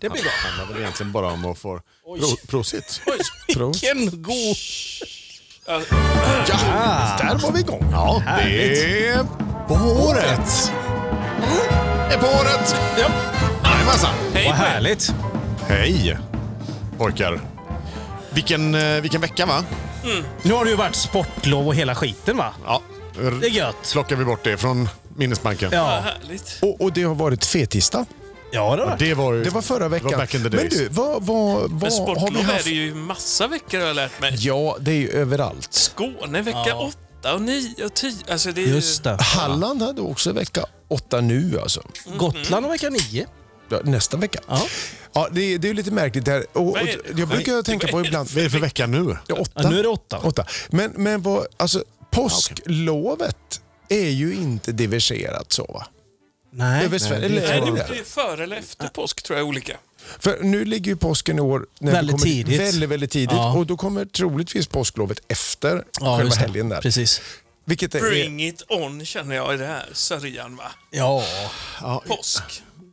Det blir bra. Det handlar väl egentligen bara om att få... Oj. Pro, prosit! Oj, Prost. vilken god... Ja, Ja, där var vi igång. Ja, det är på håret. Det är på håret. ja. Jajamensan. Hej Vad på er. härligt. Hej, pojkar. Vilken, eh, vilken vecka, va? Nu har det ju varit sportlov och hela skiten va? Ja, Det är gött. plockar vi bort det från minnesbanken. Vad Ja, härligt. Och, och det har varit fetista. ja det har varit. Det var ju... Det var förra veckan. Det var back in the Men days. du, vad, vad, vad Men har vi sportlov är haft? det ju i massa veckor har jag lärt mig. Ja, det är ju överallt. Skåne vecka Ja. åtta och nio och tio. Alltså det är ju- Just det. Halland hade också vecka åtta nu alltså. Mm-hmm. Gotland och vecka nio. Ja, Nästa vecka. Ja. Ja, det, är- det är ju lite märkligt där. Och, och, Vad är det? jag brukar Nej, tänka på vad är ibland... Vad är det för vecka nu? Ja, åtta. Ja, nu är det åtta. åtta. Men, men vad, alltså, påsklovet är ju inte diverserat så va? Nej. Över Sverige. Nej, det Eller- Nej, tror jag det inte. blir före eller efter påsk tror jag är olika. För nu ligger ju påsken i år när Väldigt det kommer, tidigt. Väldigt, väldigt tidigt. Ja. Och då kommer troligtvis påsklovet efter Ja, själva just det. helgen där. Precis. Vilket är, Bring it on känner jag i det här sörjan va. Ja. Påsk.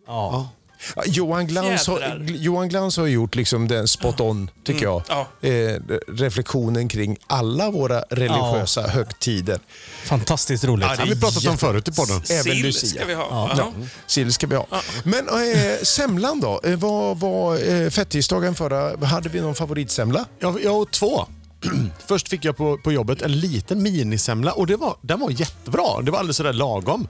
ja. Ja, Johan Glans, har, Jädrar. Johan Glans har gjort liksom den spot on, tycker Mm. ja. jag. Eh, reflektionen kring alla våra religiösa högtider. Fantastiskt roligt. Ja, det har vi pratat om förut i podden. Även Sill Lucia. ska vi ha. Ja. Sill ska vi ha. Men eh, semlan då? Eh, vad var eh, fettisdagen förra? Hade vi någon favoritsemla? Jag, jag åt två. Först fick jag på, på jobbet en liten minisemla och det var, den var jättebra. Det var alldeles sådär lagom.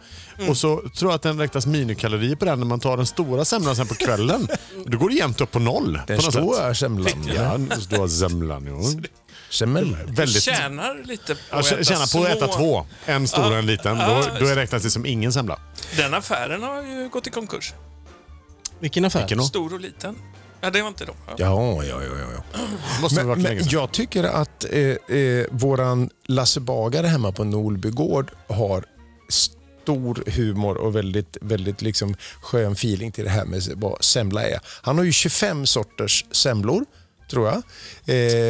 Och så tror jag att den räknas minikalorier på den när man tar den stora semlan sen på kvällen. Då går det jämnt upp på noll. Den på något står sätt. här, semlan. Ja, den stora semlan. Jo. Semmel. Väldigt... Tjänar lite på Jag att äta tjänar på att äta små- två. En stor och en liten. Ah. Då, då räknas det som ingen semla. Den affären har ju gått i konkurs. Vilken affär? Vilken då? Stor och liten. Ja, det var inte de. Ja. Ja, ja, ja. ja, ja. måste det Men, varit länge men sedan. jag tycker att eh, eh, våran Lasse Bagare hemma på Norby gård har stor humor och väldigt, väldigt liksom skön feeling till det här med vad semla är. Han har ju 25 sorters semlor, tror jag.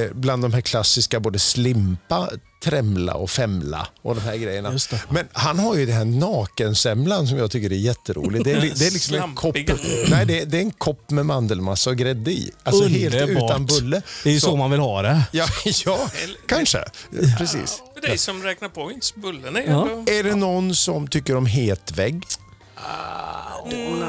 Eh, bland de här klassiska, både slimpa, trämla och femla och de här grejerna. Just det. Men han har ju den här nakensemlan som jag tycker är jätterolig. Det är, li- det är liksom en kopp, Slampiga. nej, det är, det är en kopp med mandelmassa och grädde i. Alltså helt Underbart. utan bulle. Det är ju så, man vill ha det. Ja, ja kanske. Precis. För dig som räknar points, bullen är ju Ja. ändå... Är det någon som tycker om het vägg? Mm,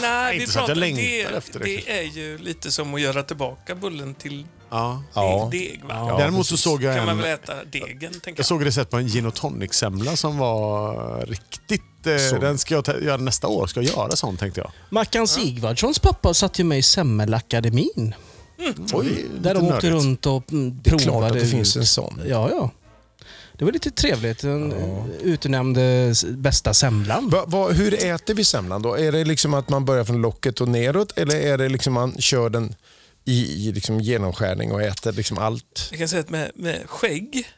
Nej, vi inte så att pratar, jag det, längtar efter det, det är ju lite som att göra tillbaka bullen till Ja. Ja. deg. Va? Däremot så såg jag kan man en... väl äta degen, tänker Jag jag. såg recept på en gin och tonic-semla som var riktigt... Eh, Såg den ska jag ta- göra nästa år. Ska jag göra sån tänkte jag. Mackan Sigvardssons pappa satt ju med i Semmelakademin. Oj, Där de åkte runt och mm, Det är provade. klart att det ut. finns en sån. Ja, ja. Det var lite trevligt. Den ja. utnämnde s- bästa semlan. Va, va, hur äter vi semlan då? Är det liksom att man börjar från locket och neråt eller är det liksom man kör den i, i liksom genomskärning och äter liksom allt? Jag kan säga att med, med skägg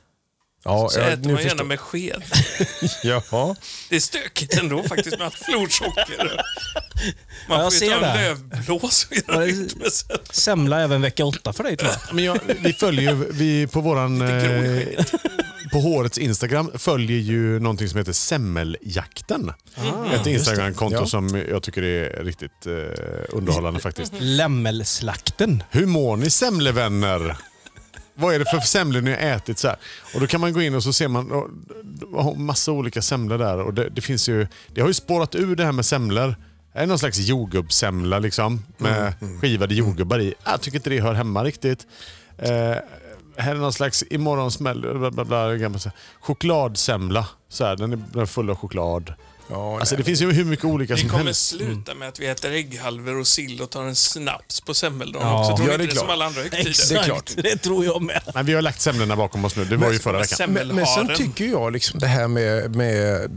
Ja, så jag- äter man gärna förstår- med sked. Jaha. Det är stökigt ändå faktiskt med allt florsocker. Man Ja, jag får ju ser ta det. en lövblås och Ja, göra det- ut med sen. Semla även vecka åtta för dig tror jag. Men jag, vi följer ju, vi på våran... Lite grå i Eh, på hårets Instagram följer ju någonting som heter Semmeljakten. Ett Instagramkonto Ja. som jag tycker är riktigt eh, underhållande faktiskt. Lämmelslakten. Hur mår ni semlevänner? Vad är det för semlor ni har ätit? Så här? Och då kan man gå in och så ser man och, och, massa olika semlor där. Och det, det, finns ju, det har ju spårat ur det här med semlor. Är det någon slags jordgubbssemla liksom, med skivade jordgubbar i? Jag tycker inte det hör hemma riktigt. Eh, här är någon slags imorgon smäller bla, bla, bla, gammal så här. chokladsemla. Så här, den är den är full av choklad. Ja, Alltså, nej. det finns ju hur mycket olika Det som kommer helst. sluta med att vi äter ägghalvor och sill och tar en snaps på semmeldagen Ja. också. Tror Ja, ni det inte det är är som klart. alla andra högtider? Exakt. Det är klart. Det tror jag med. Nej, vi har lagt semlorna bakom oss nu. Det var ju förra veckan. Men, men sen Semmelharen. tycker jag liksom det här med, med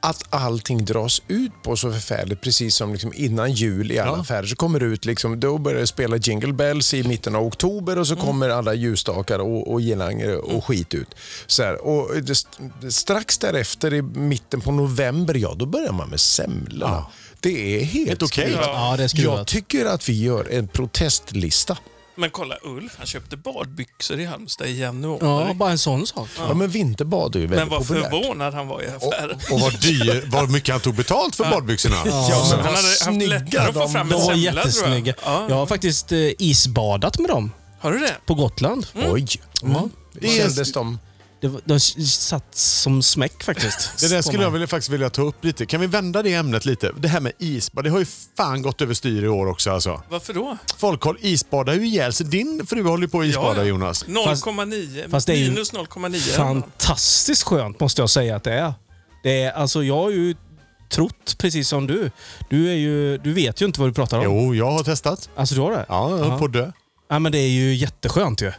att allting dras ut på så förfärligt, precis som liksom innan jul i alla affärer så kommer det ut, liksom, då börjar det spela Jingle Bells i mitten av oktober och så kommer alla ljusstakar och, och girlanger och skit ut. Så här, och det, strax därefter i mitten på november, ja då börjar man med semlorna. Det är helt Helt okej. skruvat. Ja, det är skruvat. Jag tycker att vi gör en protestlista. Men kolla, Ulf han köpte badbyxor i Halmstad i januari. Ja, bara en sån sak. Ja, men vinterbad är ju men väldigt vad populärt. förvånad han var i affären. Och vad, dyr, vad mycket han tog betalt för badbyxorna. Ja, han men vad hade haft snygga lättare att få de fram en De var semla tror jättesnygga. jag. Jag har faktiskt eh, isbadat med dem Har du det? på Gotland. Oj. Mm. Det Det är- kändes de. Det var, de s- satt som smäck faktiskt. Det där skulle Såna. jag vilja, faktiskt vilja ta upp lite. Kan vi vända det ämnet lite? Det här med isbad, det har ju fan gått överstyr i år också alltså. Varför då? Folk har isbadar ju ihjäl sig. Din fru håller ju på att isbada Ja, ja. Jonas. 0,9. fast det är ju- minus 0,9. Fantastiskt skönt måste jag säga att det är. Det är alltså, jag har ju trott precis som du. Du, är ju, du vet ju inte vad du pratar om. Jo, jag har testat. Alltså du har det? Ja, jag höll Ja. på att dö. Ja, men det är ju jätteskönt ju.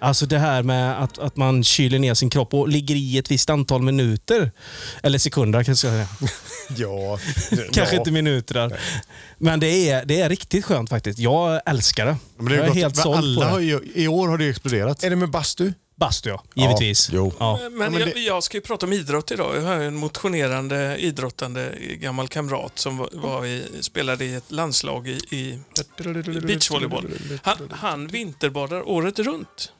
Alltså det här med att, att man kyler ner sin kropp och ligger i ett visst antal minuter. Eller sekunder kanske jag ska säga. Ja. Kanske ja. inte minuter. Där. Men det är, det är riktigt skönt faktiskt. Jag älskar det. Men det har ju jag är helt gått- men såld på alla har det. ju, I år har det ju exploderat. Är det med bastu? Bastu ja, givetvis. Ja, jo. Ja. Men, men jag, det- jag ska ju prata om idrott idag. Jag har ju en motionerande, idrottande gammal kamrat som var, var i, spelade i ett landslag i, i beachvolleyboll. Han, han vinterbadar året runt.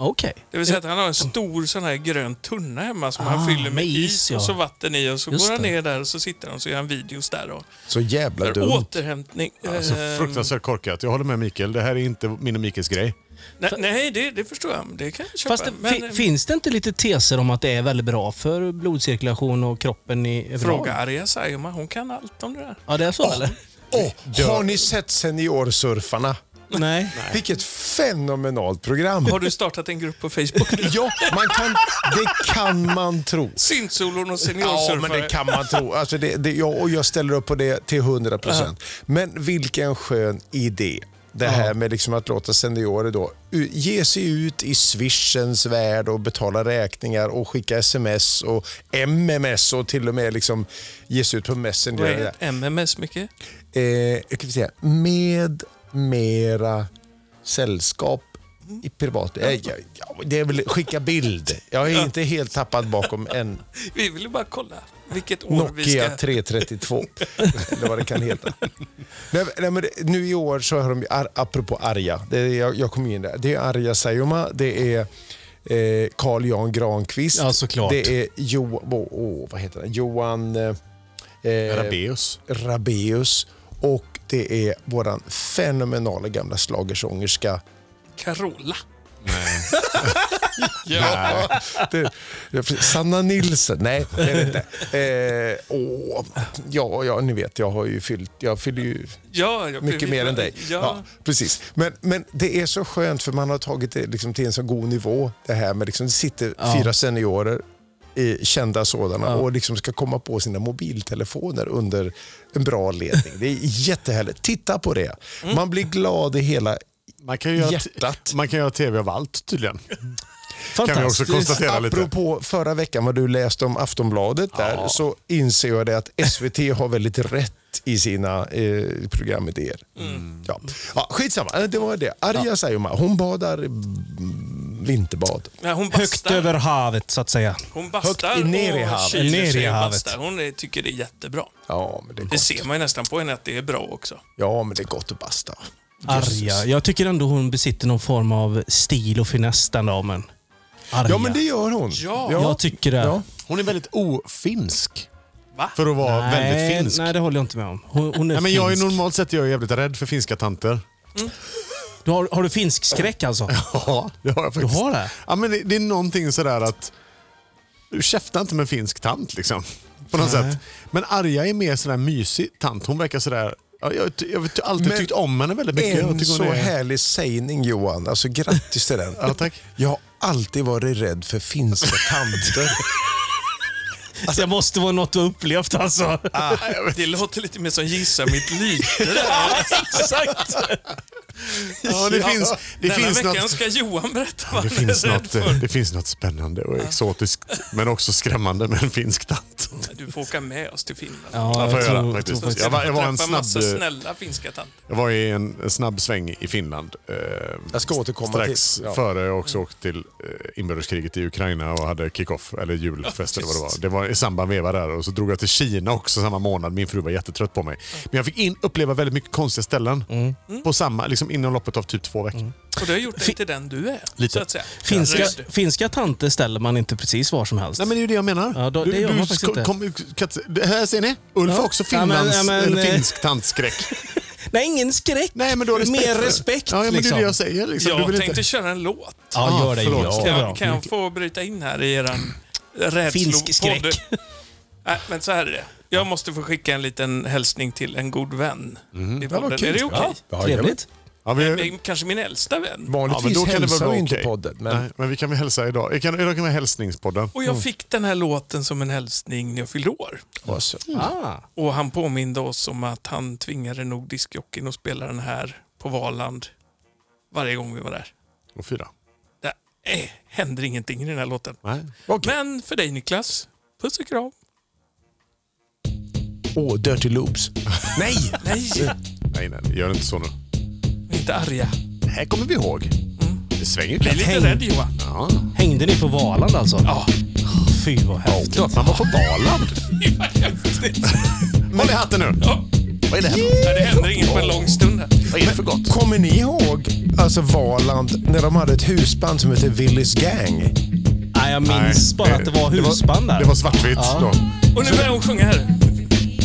Okej. Det vill säga att han har en stor sån här grön tunna hemma som Ah, han fyller med med is, is ja. och så vatten i och så Just går han det. ner där och så sitter han och så gör han videos där. Och, Så jävla för dumt. återhämtning. Alltså, ehm, fruktansvärt korkat. Jag håller med Mikael. Det här är inte min och Mikels grej. nej, nej det, det förstår jag. Det kan jag köpa. Fast det, fi, Men, eh, finns det inte lite teser om att det är väldigt bra för blodcirkulation och kroppen i överlag? Fråga Arja Saijonmaa, hon kan allt om det där. Ja, det är så eller? Åh, har ni sett Seniorsurfarna? Nej. Vilket fenomenalt program. Har du startat en grupp på Facebook nu? Ja, man kan, det kan man tro. Synsolon och Ja, men seniorsurfare. det kan man tro. Alltså det, det, ja, och jag ställer upp på det till 100 procent. Men vilken skön idé. Det här med liksom att låta seniorer då u- ge sig ut i swishens värld och betala räkningar och skicka sms och mms och till och med liksom ge sig ut på Messenger. Vad är ett MMS, Micke? Eh, jag kan säga, med mera sällskap i privat... Eh, ja, ja, det är väl skicka bild. Jag är inte helt tappad bakom en Vi ville bara kolla vilket år vi Nokia ska... 332. Eller vad det kan heta. Nej, nej, men det- nu i år så har de, ar, apropå Arja, det är, jag, jag kom in där. Det är Arja Saijonmaa, det är eh, Carl Jan Granqvist. Ja, såklart. Det är jo, åh, åh, vad heter han? Johan eh, eh, Rabaeus. Rabeus och det är våran fenomenala gamla slagersångerska. Carola. Ja. Det, det, Sanna Nilsson. Nej, det är det inte. Eh, åh, ja, ja, ni vet, jag har ju fyllt, jag fyller ju Ja, jag mycket mer än dig. Ja. Ja, precis. Men, men det är så skönt för man har tagit det liksom till en så god nivå. Det här med liksom, det sitter Ja. fyra seniorer, eh, kända sådana, Ja. och liksom ska komma på sina mobiltelefoner under en bra ledning. Det är jättehärligt. Titta på det. Man blir glad i hela Man kan ju göra, Hjärtat. man kan göra tv av allt tydligen. Fantastiskt. Kan vi också konstatera lite. Apropå förra veckan vad du läste om Aftonbladet där, så inser jag det att SVT har väldigt rätt i sina eh, programidéer. Mm. Ja. Ja, skitsamma, Eh, det var det. Arja Saijonmaa, hon badar mm, vinterbad. Nej, hon Högt bastar. över havet så att säga. Hon bastar Högt i- ner i och havet. kyler Ner i sig och havet. bastar. Hon är, tycker det är jättebra. Ja, men det är Det gott, ser man ju nästan på henne att det är bra också. ja, men det är gott att basta. Arga. Jag tycker ändå hon besitter någon form av stil och finess den damen. Arga. Ja, men det gör hon. Ja. Jag tycker det. Ja. Hon är väldigt ofinsk. Va? För att vara väldigt nej, finsk. nej, Nej, det håller jag inte med om. Hon, hon är men finsk. jag är normalt sett jag är jävligt rädd för finska tanter. du har, har du finsk skräck alltså? Ja, det har jag Du faktiskt. har det? Ja, men det, det är någonting sådär att... Du käftar inte med en finsk tant liksom. På något Nej. sätt. Men Arja är mer sådär mysig tant. Hon verkar sådär... Ja, jag har jag har alltid Men tyckt om henne väldigt mycket. jag En tycker hon så är- härlig sägning Johan, alltså grattis till den. Ja, tack. Jag har alltid varit rädd för finska tanter. Alltså, det måste vara något du har upplevt alltså. Det låter lite mer som gissa mitt lyte. där. Exakt. Ja, det Ja. finns, det Denna finns veckan något... ska Johan berätta vad Det han finns, är rädd något, eh, för. det finns något spännande och exotiskt men också skrämmande med en finsk tant. Du får åka med oss till Finland. Ja, får jag göra, tror- faktiskt. tror Jag var- jag var en Träffa snabb, massa eh, snälla finska tanter. Jag var i en en snabb sväng i Finland. Eh, Jag ska återkomma strax till- ja. före jag också åkte till eh, inbördeskriget i Ukraina och hade kick-off, eller julfest eller vad det var. Det var i samband veva där och så drog jag till Kina Mm. också samma månad. Min fru var jättetrött på mig. Men jag fick in, uppleva väldigt mycket konstiga ställen på samma, liksom liksom inom loppet av typ två Mm. veckor. Och det har gjort dig Fi- till den du är. Lite. Så att säga. Finska, Rydd. finska tanter ställer man inte precis var som helst. Nej men det är ju det jag menar. Ja, då- du, det gör du man faktiskt ska- inte. kom- kan- det här ser ni. Ulf Ja. har också Ja, men- finlands, ja, men, eller eh, finsk tantskräck. Nej, ingen skräck. Nej men du har respekt Mer för det. respekt, Ja, ja men det är liksom. det jag säger. Liksom. du Jag vill tänkte inte... köra en låt. Ja, Ah, gör det. förlåt. Ja, det är bra. Kan, kan jag få bryta in här i eran Finsk skräck. rädslopodd? Nej, men så här är det. Jag måste få skicka en liten hälsning till en god vän Mhm. i Ja, podden. vad är det kul. okej? Ja, Trevligt. Ja, vi... Det är Kanske min äldsta vän. Ja, men Vanligtvis då kan det väl hälsar vara vi inte okej. podden, men Nej, men vi kan väl hälsa idag. Vi kan, idag kan vi ha hälsningspodden. Och jag fick den här låten som en hälsning när jag fyllde år. vad så. Ah. Och han påminde oss om att han tvingade nog diskjockeyn att spela den här på Valand varje gång vi var där. Och fyra. Det eh, händer ingenting i den här låten. Nej. Okej. Men för dig Niklas, puss och kram. Åh, Dirty Loops. Nej! Nej, nej, nej, gör inte så nu. vi är inte arga. Det här kommer vi ihåg. Det svänger Bli knappt. lite Häng. rädd Johan. Ja. Hängde ni på Valand alltså? Ja. Fy vad häftigt. Klart man var på Valand. Håll i hatten nu. Ja, Vad är det här? för- det händer inget på en lång stund här. Vad är det för gott? Kommer ni ihåg alltså Valand när de hade ett husband som hette Willys Gang? Nej, jag minns bara att det var husband där. Det var svartvitt Ja. då. Och nu börjar hon sjunga här.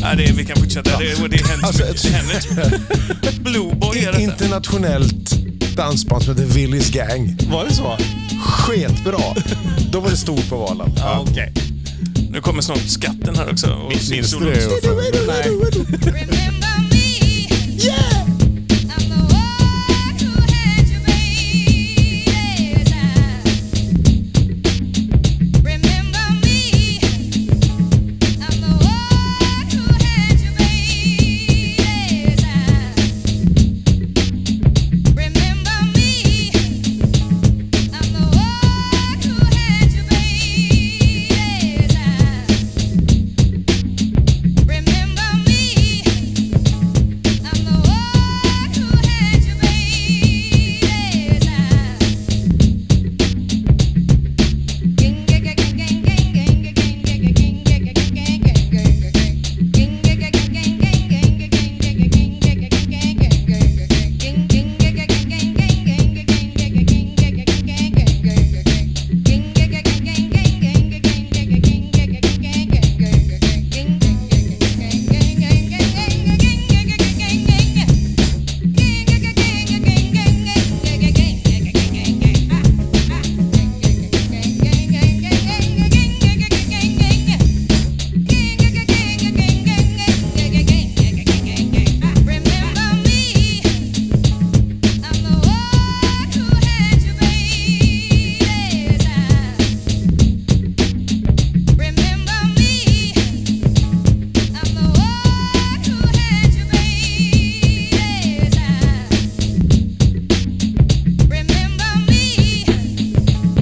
Ja, det är, vi kan fortsätta. Det, och det händer Alltså, alltså, mycket. Det händer inte så mycket. Blue Boy är detta. Internationellt dansband som hette Willys Gang. Var det så? Sketbra! Då var det stort på Valand. Ja, okej. Nu kommer snart skatten här också. Och Minns sin minns du solo. det? Uffe? Remember me. Yeah. I'm the one who had you, baby. Remember me. I'm the one who had you, baby. Remember me. I'm the one who had you, baby. Remember me, I'm the one who had you, Remember me I'm the one who had you, baby. Remember me. I'm the one who had you, baby. Remember me.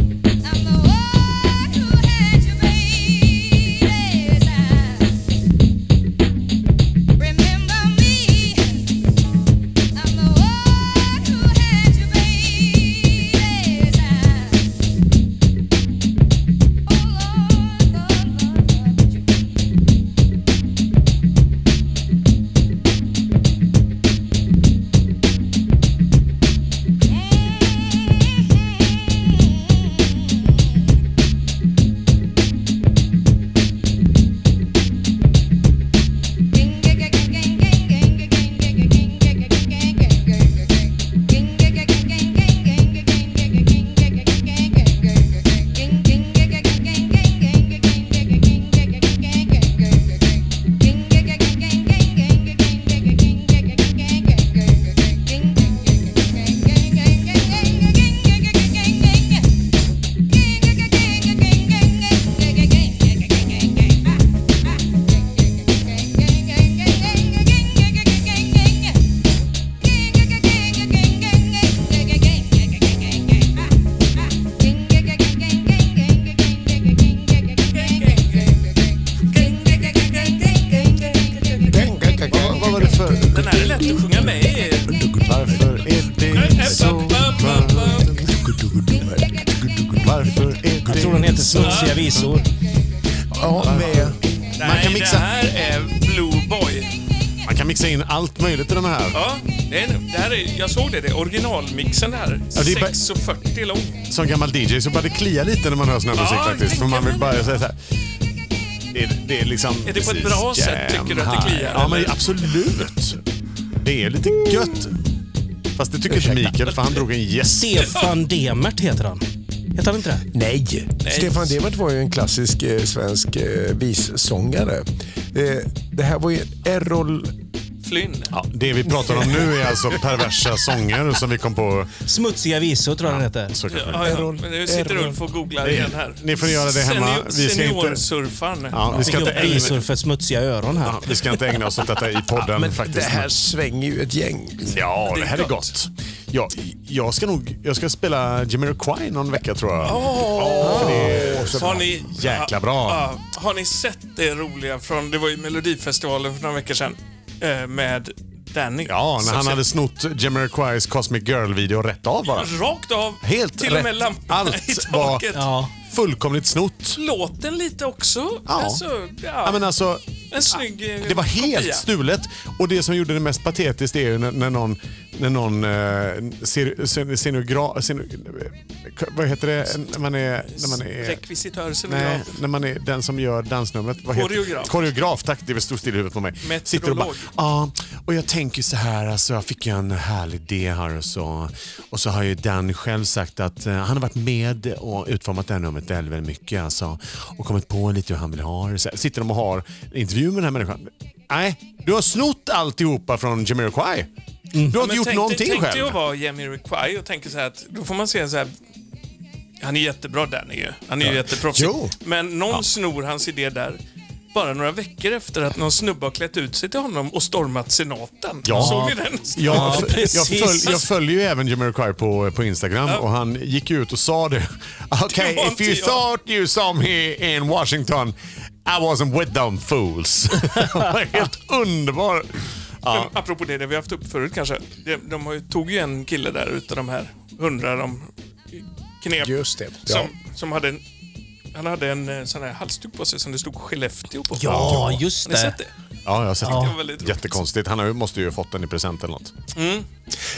I'm the one who had you, baby. Remember me. I'm the one who had you, baby. Oh Lord, Lord, Lord, Lord, would you Vad, vad var det för... Den här är lätt att sjunga med i. Varför är det så mörkt? Varför är det... Jag tror den heter Smutsiga visor. Ja, med Nej, kan mixa. det här är Blue Boy. Man kan mixa in allt möjligt i de här. Ja, det är, det här är, jag såg det. det är originalmixen här. Ja, det är bara- 6,40 lång. Som gammal DJ så börjar det klia lite när man hör sån här Ja, musik jag faktiskt. För tänker man vill mig bara säga så här. Det är, det är liksom... Är det på ett precis bra sätt, jam tycker du, att det här. kliar, Ja, men eller? absolut. Det är lite gött. Fast det tycker inte Mikael, för han drog en gäst. Stefan Demert heter han. Heter han inte det? Nej. Stefan Demert var ju en klassisk eh, svensk eh, vissångare. Eh, det här var ju Errol... Flynn. Ja, det vi pratar om nu är alltså perversa sånger som vi kom på. Smutsiga visor tror jag den heter. Så kanske- Ja, ja. Errol- Men nu sitter Errol. Ulf och googlar Nej, igen här. ni får göra det hemma. Vi ska inte- Seniorsurfaren. Ja, vi, ska Fick inte upp visor ägna, för smutsiga öron här. ja, vi ska inte ägna oss åt detta i podden faktiskt. det här svänger ju ett gäng. Ja, det här är gott. gott. Ja, jag ska nog jag ska spela Jamiroquai någon vecka tror jag. Har ni, Jäkla bra. Ja, ja. har ni sett det roliga från, det var ju Melodifestivalen för några veckor sedan, eh, med Danny. Ja, när Som han ser- hade snott Jamiroquais Cosmic Girl-video rätt av bara. Rakt av, Helt till och rätt. med lamporna Allt i var- taket. Ja. Fullkomligt snott. Låten lite också. Ja. Alltså, ja. Ja, men alltså, en snygg eh, det var helt kopia. stulet. Och det som gjorde det mest patetiskt är ju när, när någon, när någon eh, ser, ser, scenogra, sceno, eh, vad heter det när man är... När man är Rekvisitör, Nej, scenograf. när man är den som gör dansnumret. Vad heter- Koreograf. Koreograf, tack. Det stod still i huvudet på mig. Meteorolog. Sitter och bara, ja, och jag tänker så här, alltså, jag fick ju en härlig idé här och så. Och så har ju Dan själv sagt att eh, han har varit med och utformat det här numret väldigt, väldigt mycket alltså. Och kommit på lite hur han vill ha det. Så här, sitter de och har en intervju med den här människan. Nej, du har snott alltihopa från Jamiroquai. Du har inte gjort Men tänk dig- någonting tänk dig själv. att vara Jamiroquai och tänka så här att då får man se så här. Han är jättebra Danny ju. Han är ju jätteproffsig. Jo. Men någon snor hans idé där. Bara några veckor efter att någon snubbe har klätt ut sig till honom och stormat senaten. Ja. Såg ni den? Ja, Ja, jag, jag, precis. följ, jag följer ju även Jamiroquai på, på Instagram och han gick ju ut och sa det. Okay, var if inte you jag." thought you saw me in Washington, I wasn't with them fools. Helt underbar. Ja. Men apropå det, det vi har haft upp förut kanske. De, de har ju, tog ju en kille där utav de här hundra de knep. Just det. Ja. Som, som hade en, han hade en eh, sån här halsduk på sig som det stod Skellefteå på. Ja, just Har ni det. sett det? Ja, jag har sett Det var det. väldigt roligt. Jättekonstigt. Han har ju- måste ju ha fått den i present eller något. Ja, men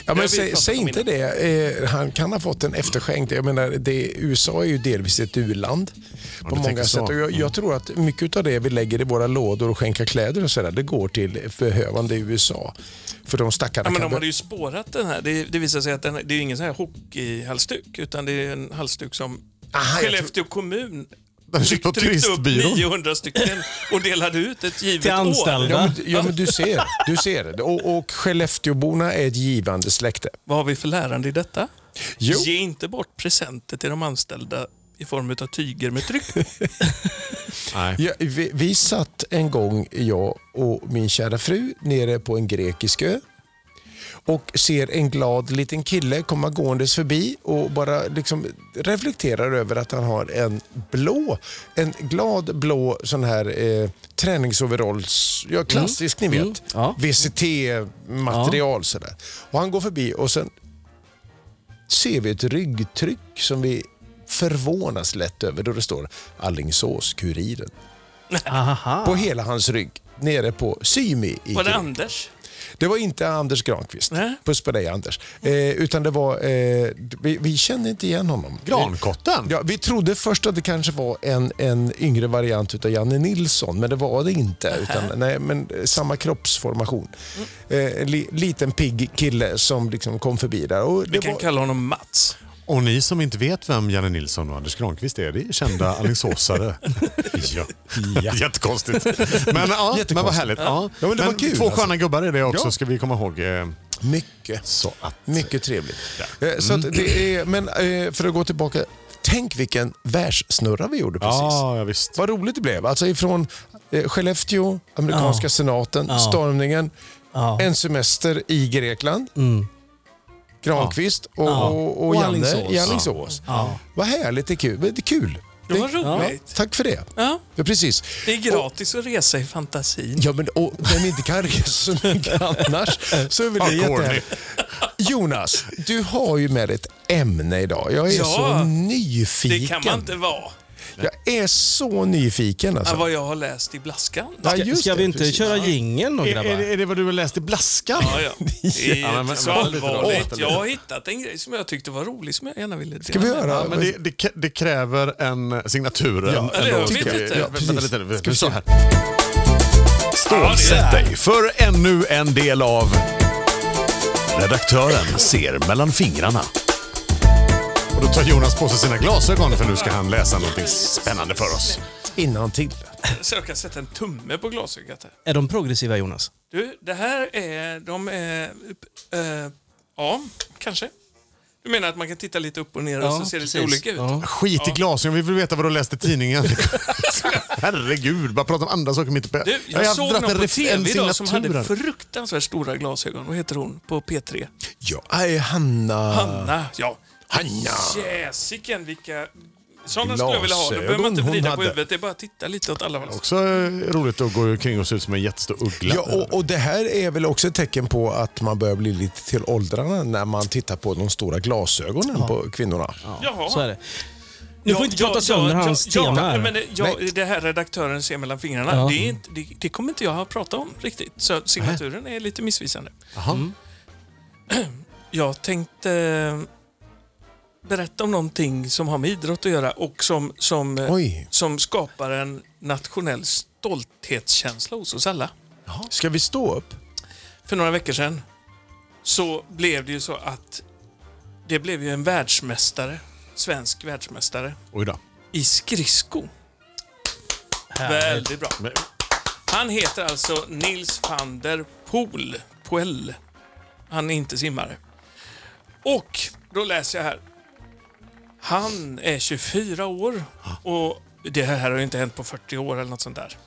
Jag vill säg, prata säg om inte det. Eh, han kan ha fått en efterskänkt. Jag menar, det, USA är ju delvis ett u-land på du tänker många så. sätt. Och jag, Mm. jag tror att mycket av det vi lägger i våra lådor och skänker kläder och sådär, det går till behövande i USA. För de stackarna Ja, men kan de be- hade ju spårat den här. Det, det visar sig att den, det är ju ingen sån här hockeyhalsduk, utan det är en halsduk som Aha, jag Skellefteå kommun Den köpte på tryckte upp turistbyrån. 900 stycken och delade ut ett givet Till år. anställda. Ja, men, ja, men du ser. Du ser. Och, och Skellefteåborna är ett givande släkte. Vad har vi för lärande i detta? Jo. Ge inte bort presenter till de anställda i form av tyger med tryck. Nej. Ja, vi, vi satt en gång, jag och min kära fru, nere på en grekisk ö och ser en glad liten kille komma gåendes förbi och bara liksom reflekterar över att han har en blå, en glad blå sån här eh, träningsoveralls, ja klassisk ni vet, Mm. Ja. VCT-material sådär. Och han går förbi och sen ser vi ett ryggtryck som vi förvånas lätt över då det står Alingsås-Kuriren Aha. på hela hans rygg nere på Symi. I Var det Grekland. Anders? det var inte Anders Granqvist. Nej. Puss på dig Anders. Eh, utan det var, eh, vi, vi kände inte igen honom. Grankotten. Ja, vi trodde först att det kanske var en, en yngre variant utav Janne Nilsson, men det var det inte. Utan, nej, men eh, samma kroppsformation. Mm. Eh, en li, liten pigg kille som liksom kom förbi där. Och Vi det kan var, kalla honom Mats. Och ni som inte vet vem Janne Nilsson och Anders Granqvist är, det är kända alingsåsare. ja. Jättekonstigt. Men, ja, men vad härligt. Ja. Ja, men det var kul, två alltså. sköna gubbar är det också, Ja. ska vi komma ihåg. eh, mycket. Så att... Mycket trevligt. Eh, Så att det är, men eh, för att gå tillbaka, tänk vilken världssnurra vi gjorde precis. Ja, ja, visst. Vad roligt det blev. Alltså ifrån eh, Skellefteå, amerikanska Ja. senaten, Ja. stormningen, Ja. Mm. en semester i Grekland, Granqvist och, Ja. och, och Och Janne Alingsås. i Alingsås. Ja. Vad härligt, det är kul. Men Det är kul. Det var Ja, roligt. tack för det. Ja. Ja, precis. Det är gratis att resa i fantasin. Ja, men och, vem inte kan resa så mycket annars så är väl det Ja, corny. jättehärligt. Jonas, du har ju med dig ett ämne idag. Jag är Ja. så Det nyfiken. kan man inte vara. Jag är så nyfiken Ja, alltså. vad jag har läst i Blaskan. Ja, Ska, just ska det, vi inte precis. köra jingeln då Är, är, grabbar? det- är det vad du har läst i Blaskan? Ja, ja. Det är Ja, men- inte så men- allvarligt. Åh. Jag har hittat en grej som jag tyckte var rolig som jag gärna ville dela Ska vi med mig. höra? Men det, det, k- det kräver en signatur. en, eller hur? låt. Vet Ska vi- inte. ja, Precis. vänta lite nu. Ska vi Så se. här. Stålsätt dig för ännu en del av Redaktören ser mellan fingrarna. Och då tar Jonas på sig sina glasögon för nu ska han läsa någonting spännande för oss. Innan till. Så jag kan sätta en tumme på glasögat här. Är de progressiva Jonas? Du, det här är... De är... eh, ja, kanske. Du menar att man kan titta lite upp och ner och så ser det lite olika ut? Ja. Skit i glasögon, vi vill veta vad du läste i tidningen. Herregud, bara prata om andra saker mitt uppe. Du, jag, har såg dragit någon på ref- en tv idag som signatur hade här. fruktansvärt stora glasögon. Vad heter hon på P3? Ja, aj, Hanna. Hanna, ja. Hanna. Jäsiken vilka... Sådana skulle jag vilja ha. Då behöver man Glasögon inte hon vrida på hade. huvudet. Det är bara att titta lite åt alla håll. Också eh, roligt att gå kring och se ut som en jättestor uggla. Ja, och, och det här är väl också ett tecken på att man börjar bli lite till åldrarna när man tittar på de stora glasögonen på kvinnorna. Jaha. Så är det. Nu får vi inte prata ja, sönder ja, hans ja, tema här. nej, men det- ja, Nej. Det här redaktören ser mellan fingrarna, Ja. det, är inte, det, det kommer inte jag att prata om riktigt. Så signaturen Äh. är lite missvisande. Mm. Jag tänkte eh, berätta om någonting som har med idrott att göra och som, som, eh, Oj. som skapar en nationell stolthetskänsla hos oss alla. Ska vi stå upp? För några veckor sedan så blev det ju så att det blev ju en världsmästare, svensk världsmästare, Oj då. i skridsko. Härligt. Väldigt bra. Men, Han heter alltså Nils van der Poel. Poel. Han är inte simmare. Och då läser jag här. Han är 24 år och det här har ju inte hänt på 40 år eller något sånt där.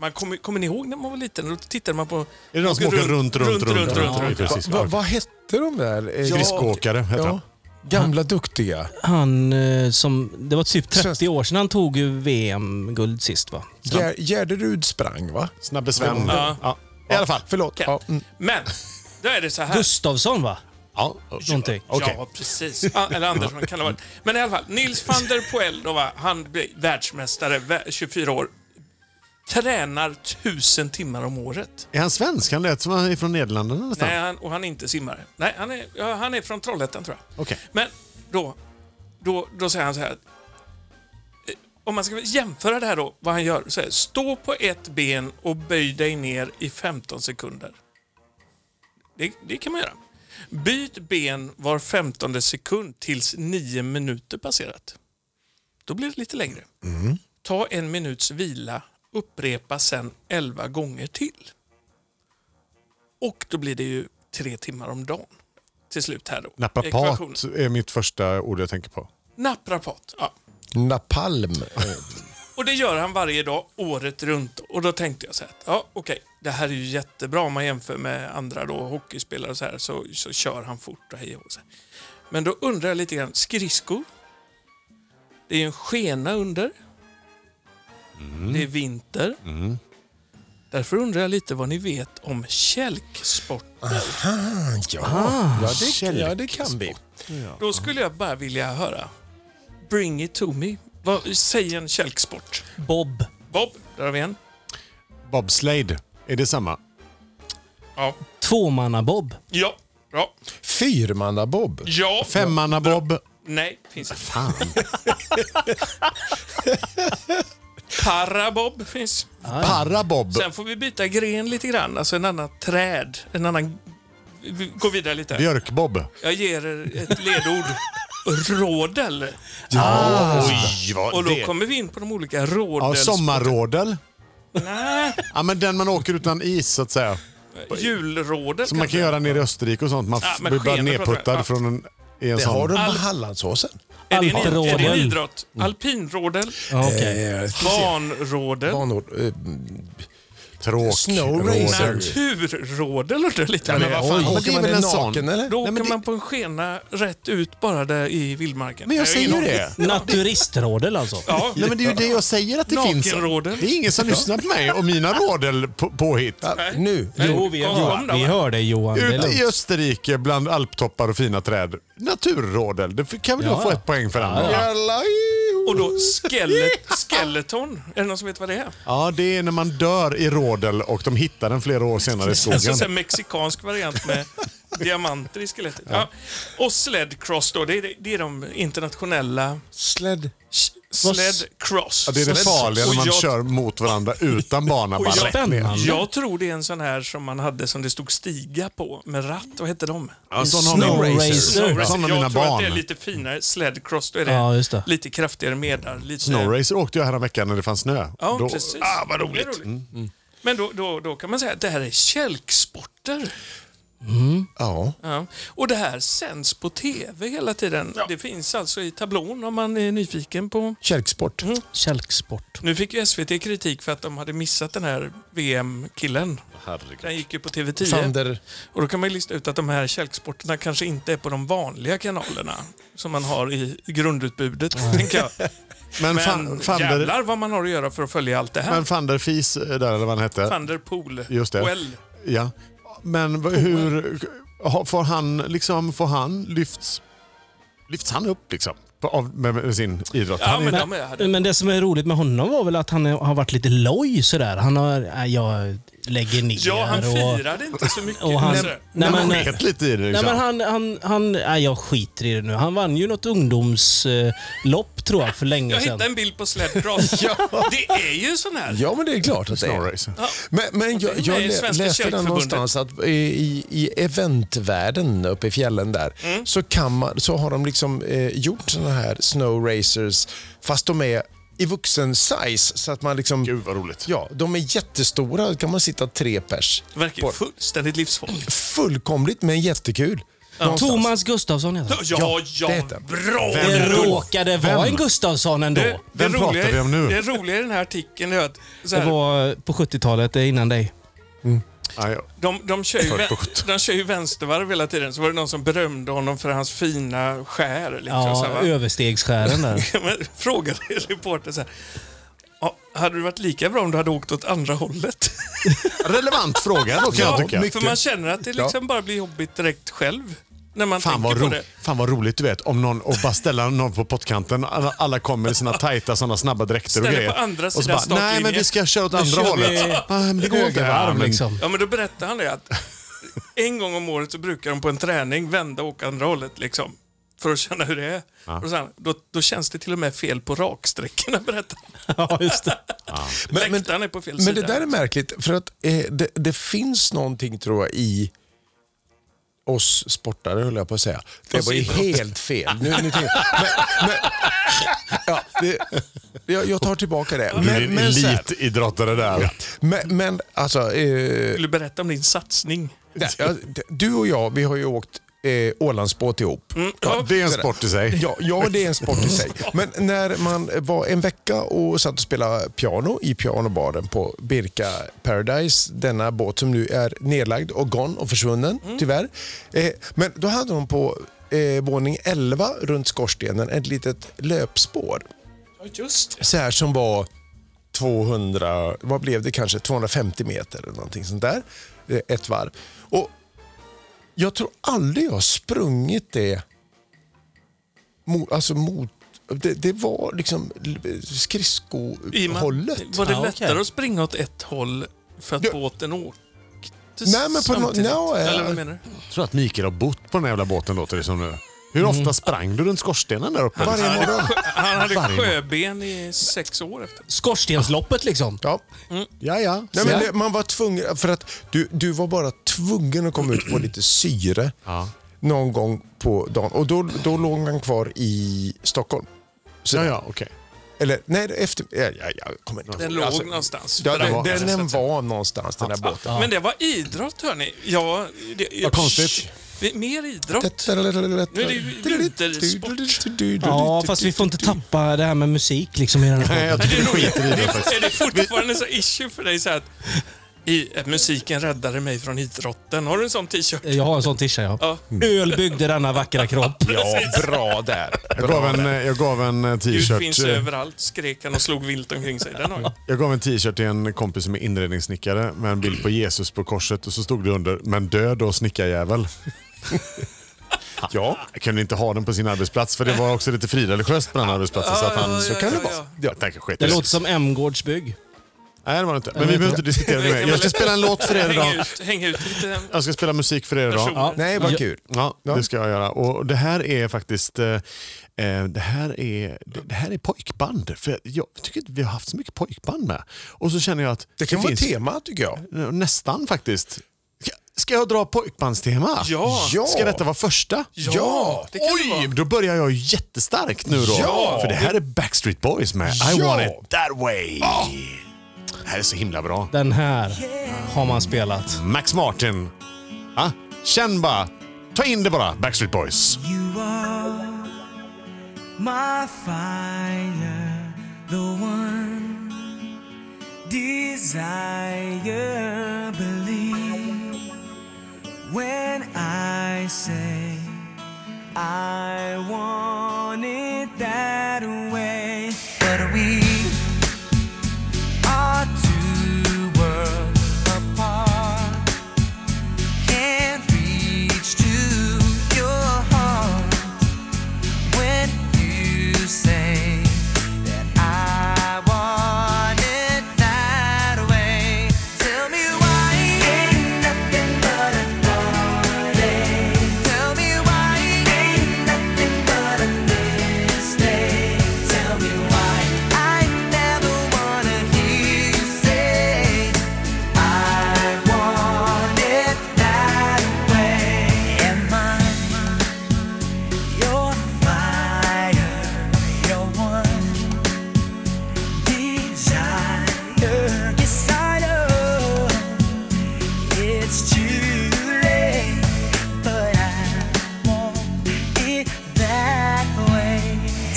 Man kommer, kommer ni ihåg när man var liten? Då tittade man på... är det de som åker runt, runt, runt? runt, runt, runt. Ja, precis. Va, vad hette de där? Eh, Skridskoåkare heter han. Ja, gamla duktiga. Han eh, som... Det var typ 30 Svensk- år sedan han tog ju VM-guld sist va? Gär, Gärderud sprang va? Snabbe Sven. Ja. Ja. I alla fall. Förlåt. Okej. Ja, mm. Men, då är det så här. Gustavsson va? Ja. Någonting. Okej. Ja, precis. Ah, Eller Andersson kan det vara. Men i alla fall, Nils van der Poel, då, va? han blir världsmästare, vä- 24 år. Tränar tusen timmar om året. Är han svensk? Han lät som han är från Nederländerna nästan. Nej, han, och han är inte simmare. Nej, han är, ja, han är från Trollhättan tror jag. Okej. Men då, då, då säger han så här. att, eh, Om man ska jämföra det här då, vad han gör. Så här, stå på ett ben och böj dig ner i 15 sekunder. Det, det kan man göra. Byt ben var 15 sekund tills 9 minuter passerat. Då blir det lite längre. Ta en minuts vila, upprepa sen 11 gånger till. Och då blir det ju tre timmar om dagen till slut här då. Ekvationen. Naprapat är mitt första ord jag tänker på. Naprapat, ja. Napalm. Eh, Och det gör han varje dag, året runt. Och då tänkte jag så här, att, ja okej, det här är ju jättebra om man jämför med andra då, hockeyspelare och så här, så, så kör han fort och hej och så. här. Men då undrar jag lite grann, skridskor? Det är ju en skena under. Det är vinter. Därför undrar jag lite vad ni vet om kälksport. Ah, Ja, ja, det, ja, det kan vi. Då skulle jag bara vilja höra, bring it to me. Vad, säg en kälksport. Bob. Bob, där har vi en. Bobslade. Är det samma? Ja. Tvåmanna-Bob. Ja. Ja. Fyrmannabob. Ja. Femmanna-bob. Nej, finns inte. Fan. Parabob finns. Parabob. Sen får vi byta gren lite grann, alltså en annan träd. En annan... Vi går vidare lite. Björkbob. Jag ger er ett ledord. Rådel. Oj, Och vad då det... kommer vi in på de olika Ja, rådels... sommarrådel. Nej, Ja, men den man åker utan is så att säga. julrådel Som man kanske. kan göra nere i Österrike och sånt. Man Ja, f- men blir bara skenet pratar jag. nerputtad från en, i en Det sån. har de på Hallandsåsen. Är det, en, är det en Alprådel. idrott? Alpinrådel? Ja, okej. Eh, ska vi se. Barnrådel? Banor, eh, Tråk. Snow rådel. racer. Naturrådel undrar jag lite. Ja, men mer. vad fan, oj. åker Det är man väl den en sån. naken eller? Då Nej, åker men det- man på en skena rätt ut bara där i vildmarken. Men jag Nej, säger ingen ju aning. det. Naturistrådel alltså. Ja. Nej, men det är ju det jag säger att det finns. Nakenrådel. Det är ingen som lyssnar på mig och mina rådel på, påhitt. Ja, nu. Nej, Jo, vi, kom, kom hör, då. vi hör dig Johan. Det är Ute i lugnt. Österrike bland alptoppar och fina träd. Naturrådel. Det kan väl Ja, jag få ja. ett poäng för. Andra. Jalla, jo. Och då skelet, skeleton. Är det någon som vet vad det är? Ja, det är när man dör i rodel och de hittar den flera år senare i Alltså skogen. en sån här mexikansk variant med diamanter i skelettet. Ja. Och sled cross då, det är, det är de internationella... Sled. sh- Sled cross. Ja, det är det Sled- farliga när Och man jag- kör mot varandra utan bana. och Bara jag- rätt ner. Spännande. Jag tror det är en sån här som man hade som det stod stiga på med ratt. Vad hette de? Ja, sån har Snow min- Racer. Snow Racer. Jag Sån har mina tror att det är barn. lite finare. Sled cross, då är det, Ja, just det. lite kraftigare medar. Lite Snow Racer åkte jag häromveckan när det fanns snö. Ja, Då- precis. Ah, vad Det är roligt. Mm. Men då, då, då kan man säga att det här är kälksporter. Ja. Ja. Och det här sänds på TV hela tiden. Det finns alltså i tablån om man är nyfiken på... Kärksport. Mm. Kälksport. Nu fick ju SVT kritik för att de hade missat den här VM-killen. Den gick ju på TV10. Mm. Thunder. Och då kan man ju lista ut att de här kälksporterna kanske inte är på de vanliga kanalerna som man har i grundutbudet, tänker jag. Men, Men fan, Fander, jävlar vad man har att göra för att följa allt det här. men Fander Fis eh, där, eller vad han hette. Thunderpool. Just det. Well. Oh, Ja. Men v- hur... ha- Får han liksom... Får han lyfts... Lyfts han upp liksom? På, av, med, med sin idrott? Ja, han men är, de är, Men det som är roligt med honom var väl att han har varit lite loj sådär. Han har... nej, Jag lägger ner Ja, han och... firade inte så mycket. Och han, Alltså, nej, men, han sket lite i det. nej, Liksom. men han, han, han, nej, jag skiter i det nu. Han vann ju något ungdomslopp eh, tror jag för jag länge sedan. hittade en bild på Sledcross. Det är ju sån här. Ja, men det är klart att det Snow är. Racer. Men, men jag, Det är jag med i lä- Svenska läste den Kälkförbundet. någonstans att i, i, i eventvärlden uppe i fjällen där Mm. så, kan man, så har de liksom eh, gjort såna här snow racers fast de är i vuxen size så att man liksom... Gud vad roligt. Ja, de är jättestora. Då kan man sitta tre pers. Det verkar ju fullständigt livsfarligt. Fullkomligt men jättekul. Någonstans. Thomas Gustafsson heter han. Ja, ja, det heter han. bra! Vem- Det råkade vara en Gustafsson ändå. Det, det, Vem pratar roliga, vi om nu? det roliga i den här artikeln är att så Det här, var eh, på 70-talet, det är innan dig. Ja, ja. de, de, kör ju, För vän- gott. de kör ju vänstervarv hela tiden. Så var det någon som berömde honom för hans fina skär. Liksom, så Ja, här, va? överstegskären där. Men frågade reportern så här. "Ja, Hade det varit lika bra om du hade åkt åt andra hållet? Relevant fråga då kan jag tycka. för man känner att det liksom bara blir jobbigt direkt själv. När man Fan vad, tänker på ro- det. fan vad roligt du vet om någon och bara ställa någon på pottkanten. Alla, alla kommer i sina tajta sådana snabba dräkter och Ställer grejer. på andra och så sidan bara, Nej startlinjen." men vi ska köra åt andra kör hållet. vi Ah, men det går inte. Ja, Högervarv men- liksom. Ja, men då berättade han det att en gång om året så brukar de på en träning vända och åka andra hållet liksom. För att känna hur det är. Och sen, då, då känns det till och med fel på raksträckorna, berättar han. Ja, just det. Men, Läktaren är på fel Men sida. det där är märkligt, för att eh, det, det finns någonting tror jag i oss sportare höll jag på att säga. Det Oss var ju idrottare. helt fel. Nu, nu tänker jag- men, men, ja, det, jag, jag tar tillbaka det. Du är Men, en men, så här, elitidrottare där. men, men alltså, eh, Vill du berätta om din satsning? det- ja, det- du och jag vi har ju åkt eh, Ålandsbåt ihop. Ja, det är en sådär. sport i sig. Ja, ja, det är en sport i sig. Men när man var en vecka och satt och spelade piano i pianobaren på Birka Paradise, denna båt som nu är nedlagd och gone och försvunnen, tyvärr. Eh, men då hade de på eh, våning 11 runt skorstenen ett litet löpspår. Ja, just det. Så här som var 200, vad blev det kanske, 250 meter eller någonting sånt där. Eh, Ett varv. Och jag tror aldrig jag har sprungit det mot, alltså mot det, det var liksom l- I och med- skridskohållet. Var det Ja, okej. lättare att springa åt ett håll för att Ja. båten åkte Nej, men på nå- samtidigt? nå, eh, Eller vad menar du? Jag tror att Mikael har bott på den här jävla båten låter det som nu. Hur ofta sprang du runt skorstenen där uppe? Varje morgon. Han hade Varje morgon. sjöben i sex år efter. Skorstensloppet liksom. Ja. Ja, ja. Nej, men Ja. det, man var tvungen, för att du, du var bara tvungen att komma ut och få lite syre Ja. någon gång på dagen. Och då, då låg man kvar i Stockholm. Så- Ja, ja, okej. Eller nej, det är efter... Jag, jag, jag kommer inte ihåg. Den låg Alltså, någonstans. Ja, För den, att- den, så den att säga. var någonstans, den där båten. Men det var idrott hörni. Ja, det, Vad konstigt. Vi- Mer idrott. Nu är det ju vintersport. Ja, fast vi får inte tappa det här med musik liksom i den Nej, här jag tycker vi skiter i det faktiskt. Är det fortfarande så issue för dig så här att i, att musiken räddade mig från idrotten? Har du en sån t-shirt? Jag har en sån tisha ja. Ja. Öl byggde denna vackra kropp. Ja, bra där. Jag gav en, eh, jag gav en eh, Gud finns t-shirt. eh, överallt, skrek han och slog vilt omkring sig. Den har jag. Jag gav en t-shirt till en kompis som är inredningssnickare med en bild på Jesus på korset och så stod det under “Men död då snickarjävel”. Ja, Jag kunde inte ha den på sin arbetsplats för det var också lite frireligiöst på den arbetsplatsen. så att han, ja, så ja, kan ja, det vara. ja. Jag tänker skit i Det det. låter som Emgårds bygg. Nej, det var det inte. Men vi behöver inte diskutera det mer. Jag ska spela en låt för er Häng idag. ut, häng ut lite Jag ska spela musik för er idag. personer. nej vad kul. Ja, det ska jag göra. Och det här är faktiskt eh, eh, det här är, det det här är pojkband. För jag tycker inte vi har haft så mycket pojkband med. Och så känner jag att Det kan vara finns- tema tycker jag. Nästan faktiskt. Ska- Ska jag dra pojkbandstema? Ja. Ja. Ska detta vara första? Ja, det kan det Oj, vara. då börjar jag jättestarkt nu då. Ja. För det här är Backstreet Boys med I Ja. want it that way. Ah. Det här är så himla bra. Den här har man spelat. Max Martin. Ja, känn bara. Ta in det bara, Backstreet Boys. You are my fire, the one desire. Believe when I say I want it that way. But we are two worlds apart can't reach to your heart when you say that I want it that way. Tell me why ain't nothing but a heartache. Tell me why ain't nothing but a mistake. Tell me why I never wanna hear you say I want it that way. Am I your fire, your one desire? Yes, I know it's too late, but I want it that way.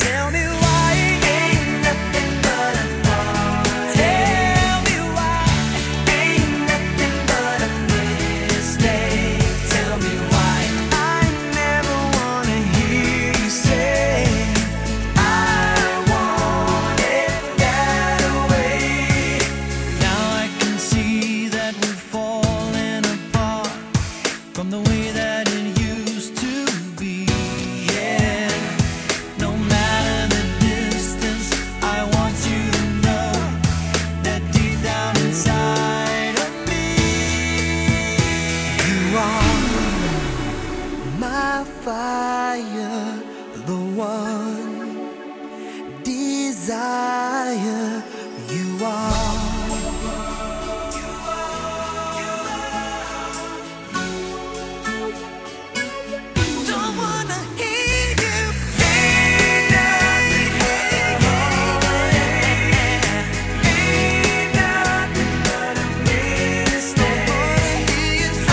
Tell me why ain't nothing but a heartache. Tell me why ain't nothing but a mistake. Tell me why I never wanna hear you say I want it that way. Now I can see that we're falling apart from the way that it used to be. Yeah. No matter the distance, I want you to know that deep down inside of me, you are my fire, the one desire. You are. Don't wanna hear you say nothing, ain't nothing but a mistake. I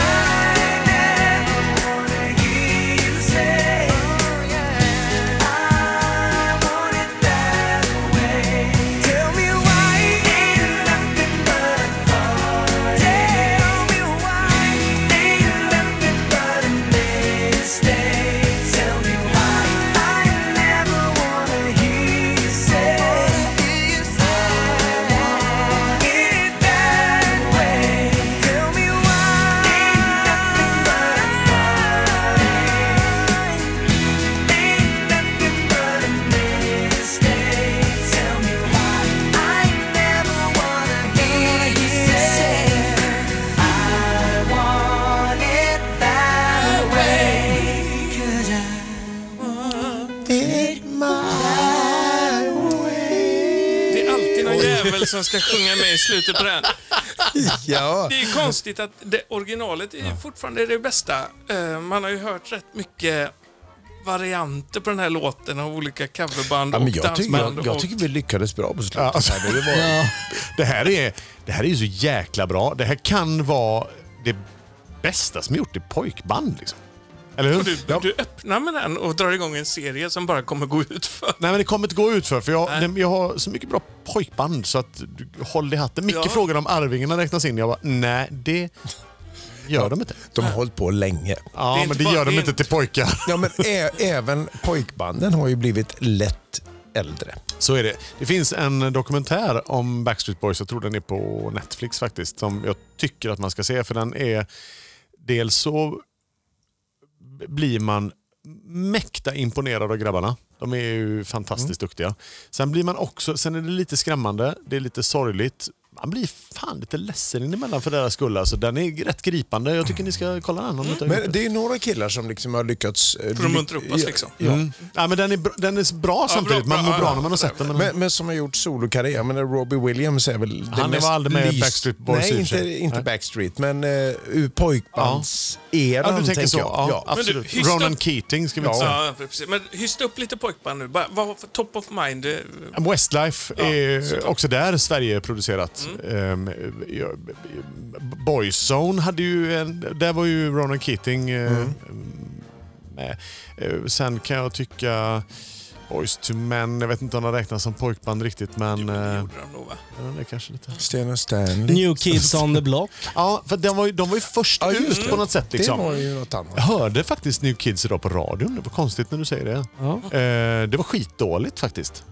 never wanna hear you say, I want it that way. Tell me why ain't nothing but a heartache. Tell me why ain't nothing but a mistake. Tell me why I never wanna hear you say, I want it that way. Tell me why ain't nothing but a heartache. Ain't nothing but a mistake. Tell me why I never wanna hear you say I want it that way. 'Cause I want it my way. Det är alltid någon jävel som ska sjunga med i slutet på den. Ja. Det är konstigt att det originalet är fortfarande det bästa. Eh, Man har ju hört rätt mycket varianter på den här låten av olika coverband Ja, och men jag, tycker, dansband. jag, jag och- tycker vi lyckades bra på slutet. Ja, alltså. här. Det var, Det här är det här är ju så jäkla bra. Det här kan vara det bästa som är gjort i pojkband. Liksom. Eller hur? Och du, du öppnar med den och drar igång en serie som bara kommer gå ut för. Nej, men det kommer inte gå ut för, för jag, den- jag har så mycket bra pojkband så att du, håll i hatten. Micke Ja. frågade om Arvingarna räknas in. Jag bara, nej, det gör de inte. de har hållit på länge. Ja, Det är inte men det bara- gör det de är inte inte- till pojkar. Ja, men ä- även pojkbanden har ju blivit lätt äldre. Så är det. Det finns en dokumentär om Backstreet Boys, jag tror den är på Netflix faktiskt, som jag tycker att man ska se för den är... Dels så blir man mäkta imponerad av grabbarna. De är ju fantastiskt duktiga. Sen blir man också, sen är det lite skrämmande, det är lite sorgligt. Man blir fan lite ledsen inemellan för deras skull. Alltså, den är rätt gripande. Jag tycker ni ska kolla den om ni inte har gjort Mm. Men det är några killar som liksom har lyckats... eh, För att muntra upp oss liksom. Mm. Ja. Nej, men den är, br- den är bra samtidigt. bra, man bra, mår bra ja, när man har sett den. Men Men, men som har gjort solokarriär. Men Robbie Williams är väl den Han mest var aldrig med i lyst- Backstreet Boys i och Nej, för inte, sig. inte Nej. Backstreet, men uh, ur pojkbandseran ja, du tänker så? jag. Ja, Ja. Men absolut. du, hysta- Ronan Keating ska vi inte säga. Ja, precis. Men hysta upp lite pojkband nu. Bara, vad, för top of mind. eh, Westlife Ja, är såklart. också där Sverige-producerat. Ehm, ja, Boyzone hade ju en... Där var ju Ronan Keating eh, med. Eh, Sen kan jag tycka... Boys to Men, jag vet inte om de räknas som pojkband riktigt men... Det eh, gjorde de då, va? ja, det är kanske lite. Sten och Stanley. New Kids on the Block. Ja, för de var ju, de var ju först Ja, just ut på något sätt. Liksom. Det var ju något annat. Jag hörde faktiskt New Kids idag på radion. Det var konstigt när du säger det. Ja. Eh, det var skitdåligt faktiskt.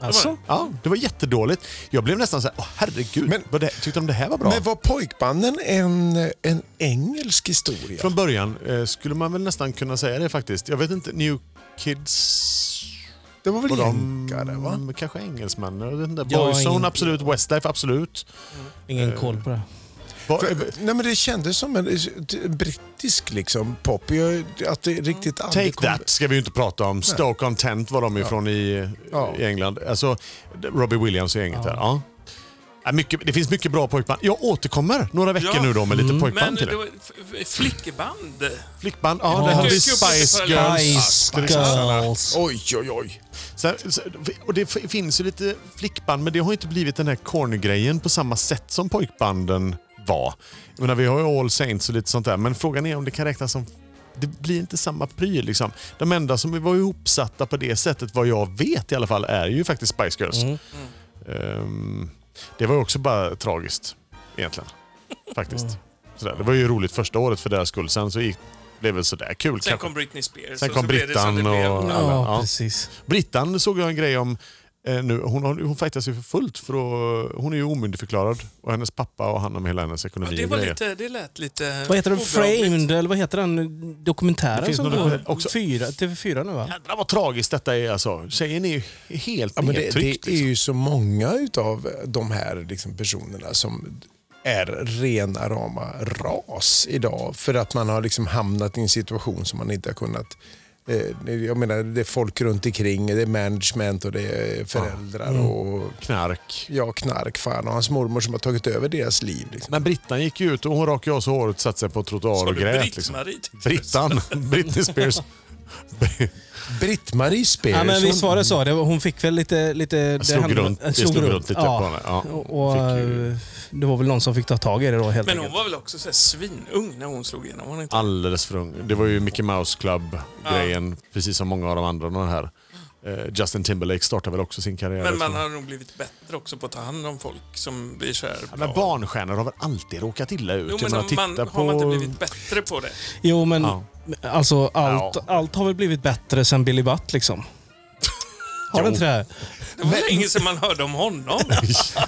Alltså. Ja, det var jättedåligt. Jag blev nästan så här, åh herregud, Men- vad det, tyckte de det här var bra? Men var pojkbanden en, en engelsk historia? Från början eh, skulle man väl nästan kunna säga det faktiskt. Jag vet inte, New Kids... det var väl Var de jänkare, va? kanske engelsmän? Jag vet inte. Ja, Boyzone ingen- absolut, Westlife absolut. Ingen koll på det. Var, För, nej, men det kändes som en eh, brittisk liksom, pop. Jag, att det riktigt aldrig Take That ska vi ju inte prata om. Stoke Content var de ifrån i, Ja. i England. Alltså, Robbie Williams och gänget där. Ja. Ja, mycket, det finns mycket bra pojkband. Jag återkommer några veckor Ja. nu då med lite Men pojkband till det det. var f- f- flickeband. Flickband, ja, där har vi Dyker upp lite Spice paralleller. Girls. Spice Girls. Girls. Oj, oj, oj. Sen, sen- och det f- finns ju lite flickband, men det har ju inte blivit den här corny-grejen på samma sätt som pojkbanden var. Jag menar, vi har ju All Saints och lite sånt där, men frågan är om det kan räknas som... Det blir inte samma pryl. Liksom. De enda som var ihopsatta på det sättet, vad jag vet i alla fall, är ju faktiskt Spice Girls. Ehm, det var ju också bara tragiskt, egentligen. Faktiskt. Sådär. Det var ju roligt första året för deras skull, sen så gick, blev det väl sådär kul Sen kanske. kom Britney Spears. Sen och kom så blev det som det Brittan blev. och- Ja, Ja. precis. Brittan såg jag en grej om eh, nu. Hon, har- hon fightas ju för fullt för att, hon är ju omyndigförklarad och hennes pappa har hand om hela hennes ekonomi. Ja, det, och var grejer. lite, det lät lite... Vad heter den? obehagligt. Framed, eller vad heter den dokumentären Det finns som några går också. fyra, TV4 nu va? Jädrar vad tragiskt detta är alltså. Tjejen är ju helt Ja, men det, det nedtryckt. är liksom. ju så många av de här liksom, personerna som är rena rama ras idag för att man har liksom hamnat i en situation som man inte har kunnat eh, jag menar, det är folk runt omkring, det är management och det är föräldrar och Knark. ja, knark fan och hans mormor som har tagit över deras liv. Liksom. Men Brittan gick ju ut och hon rakade av sig håret, satte sig på trottoar Sa och du grät. Britt-Marie, Liksom. tyckte du? Brittan, Britney Spears. Britt-Marie Spears. Ja, men visst hon- var det så? Det var, hon fick väl lite... lite det slog handlade- runt- det slog slog runt. runt lite på henne, ja. Och, och, Fick ju- eh, det var väl någon som fick ta tag i det då helt Men enkelt. hon var väl också så här svinung när hon slog igenom? Var hon inte? Alldeles för ung. Det var ju Mickey Mouse Club-grejen, precis som många av de andra. De här. Eh, Justin Timberlake startade väl också sin karriär. Men man liksom. har nog blivit bättre också på att ta hand om folk som blir så här Ja, bra. men barnstjärnor har väl alltid råkat illa ut? Jo, Jag men menar, om man, titta har man inte blivit bättre på det? Jo, men Ja. alltså allt, Ja. allt har väl blivit bättre sen Billy Butt liksom. Har det inte det? Det var länge sedan man hörde om honom.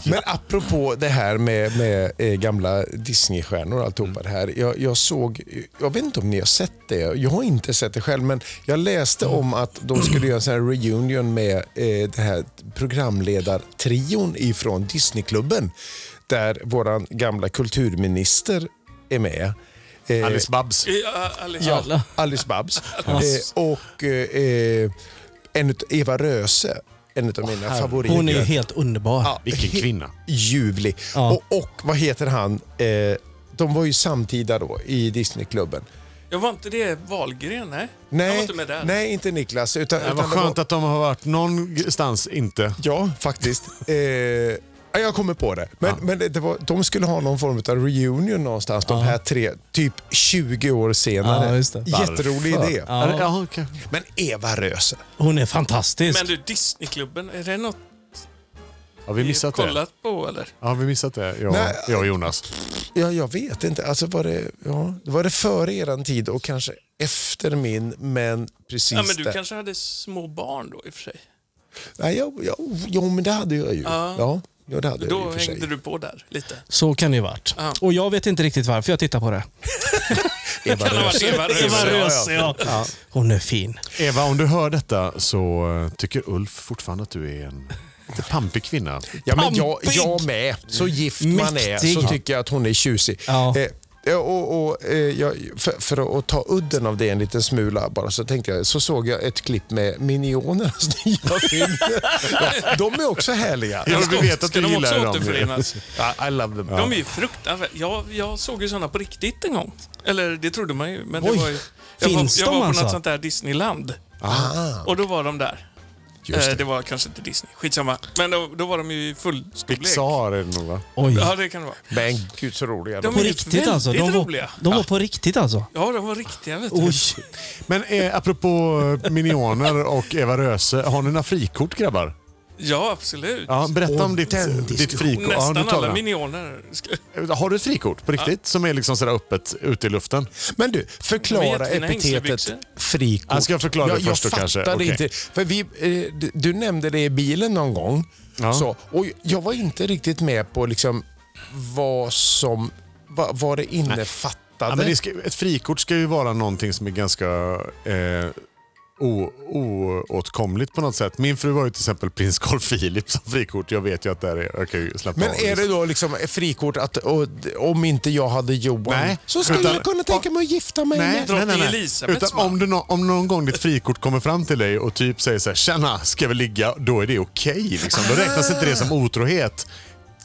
Men apropå det här med, med eh, gamla Disneystjärnor och alltihopa det här. Jag, jag såg, jag vet inte om ni har sett det, jag har inte sett det själv, men jag läste om att de skulle göra en sån här reunion med eh, den här programledartrion ifrån Disneyklubben. Där våran gamla kulturminister är med. Eh, Alice Babs. Ja, Alice. Ja, Alice Babs. eh, och eh, eh, en ut- Eva Röse, en av mina favoriter. Hon är ju helt underbar. Ja, Vilken he- kvinna. Ljuvlig. Ja. Och, och vad heter han? Eh, de var ju samtida då i Disneyklubben. Jag var inte det Wahlgren, nej? Han var Nej, inte med där. nej, inte Niklas. Utan, Det utan var skönt var- att de har varit någonstans inte. Ja, faktiskt. Eh, ja, jag kommer på det. Men, men det, det var, de skulle ha någon form av reunion någonstans, de här tre, typ 20 år senare. Ja, just det. Jätterolig Varför? idé. Ja. Ja, okej. Men Eva Röse. Hon är fantastisk. Men du, Disneyklubben, är det något Har vi vi missat det? kollat på eller? Har vi missat det? Jag, Nej. jag och Jonas. Ja, jag vet inte. Alltså var, det, ja, var det före eran tid och kanske efter min, men precis Ja, men du där. kanske hade små barn då i och för sig? Nej, jag, jag, jo, men det hade jag ju. Ja. Ja, det hade jag i Då och för sig. hängde du på där lite. Så kan det ju varit. Ja. Och jag vet inte riktigt varför jag tittar på det. Kan ha varit Eva Eva Röse. Röse, ja. Hon är fin. Eva, om du hör detta så eh, tycker Ulf fortfarande att du är en lite pampig kvinna. Ja, men jag, Pampig! jag med. Så gift man är Mäktig. så tycker jag att hon är tjusig. Ja. Eh, Eh, och, och, eh, jag, för, för att ta udden av det en liten smula bara så tänkte jag, så såg jag ett klipp med Minionernas nya film. ja, de är också härliga. Ja, vi vet att Ska du de också gillar dem. återförenas? Ja, I love them. De är ju fruktansvärda. Jag, jag såg ju sådana på riktigt en gång. Eller det trodde man ju. Men det Oj. var ju jag var, Finns jag de var på alltså? något sånt där Disneyland. Ah, Och då var de där. just Eh, det. det var kanske inte Disney, skitsamma. Men då, då var de ju i full storlek. Pixar är det nog va? Oj. Ja, det kan det vara. Men gud så roliga de De På är är. riktigt alltså. De väldigt var, roliga. de var på riktigt alltså. Ja, de var riktiga vet du. Oj. Men eh, apropå eh, Minioner och Eva Röse, har ni några frikort grabbar? Ja, absolut. Ja, berätta om ditt, den ditt diskussionen. frikort. Ja, Nästan du talar. Eh, alla minioner. Ska- Har du ett frikort på riktigt som är liksom sådär öppet ute i luften? Men du, förklara De är jättefina epitetet hängslebyxor. frikort. Jag ska förklara det först då jag kanske. fattade Okej. inte. För vi, eh, d- du nämnde det i bilen någon gång. Ja. Så, och jag var inte riktigt med på liksom vad som vad, vad det innefattade. Ja, men det ska, ett frikort ska ju vara någonting som är ganska eh, o- oåtkomligt på något sätt. Min fru har ju till exempel prins Carl Philip som frikort. Jag vet ju att det är... Jag kan ju slappa Men av. är det då liksom ett frikort att och, om inte jag hade Johan Nej, så skulle utan- jag kunna tänka mig att gifta mig Nej, med. nej, nej, Drottning nej. Elisabeths Utan om, du nå- om någon gång ditt frikort kommer fram till dig och typ säger så här, “Tjena, ska vi ligga?” Då är det okej. liksom. Då räknas inte det som otrohet.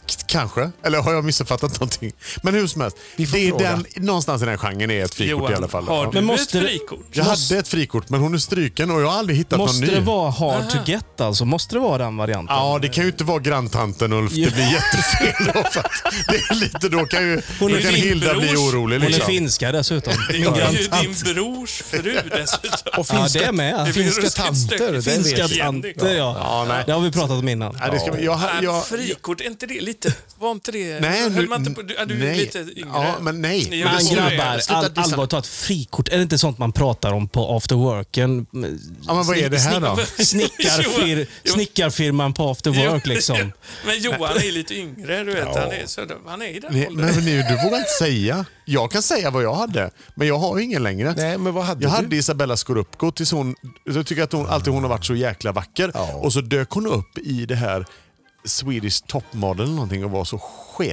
K- Kanske. Eller har jag missuppfattat någonting? Men hur som helst. Vi får Det är fråga. den, någonstans i den genren är ett frikort Johan, i alla fall. har Ja. du Men måste ett det- frikort? Jag hade ett frikort, men hon är stryken och jag har aldrig hittat någon Måste ny. det vara hard to get alltså? Måste det vara den varianten? Ja, det kan ju inte vara granntanten Ulf. Det blir jättefel då. För att det är lite, då kan ju Hon är då kan din Hilda bli brors- orolig. Hon är Liksom. finska dessutom. Det är ju din brors fru dessutom. Och Ja, finska, det är med. blir finska ruskigt tanter, stökigt. det vet Finska jag. Finska Jenny. tanter ja. Ja, nej. Det har vi pratat om innan. Nej, det ska, man- jag, Nej, jag, jag, frikort, är inte det lite... Var inte det... nej, höll man inte på, du, är du nej. lite yngre? Ja, men nej. Ni gjorde Men Men så. grabbar, Sluta all, dissa mig. allvarligt talat, frikort, är det inte sånt man pratar om på after worken? Ja, men vad är det här då? Snickarfir, Johan, Johan. snickarfirman på after Jo, work liksom. Men Johan är lite yngre, du vet. Han, är, så, han är i den Nej, åldern. men nu, du vågar inte säga. Jag kan säga vad jag hade, men jag har ju ingen längre. Nej, men vad hade jag du? hade Isabella Scorupco tills hon... Jag tycker att hon alltid hon har varit så jäkla vacker. Ja. Och så dök hon upp i det här Swedish topmodel eller någonting och var så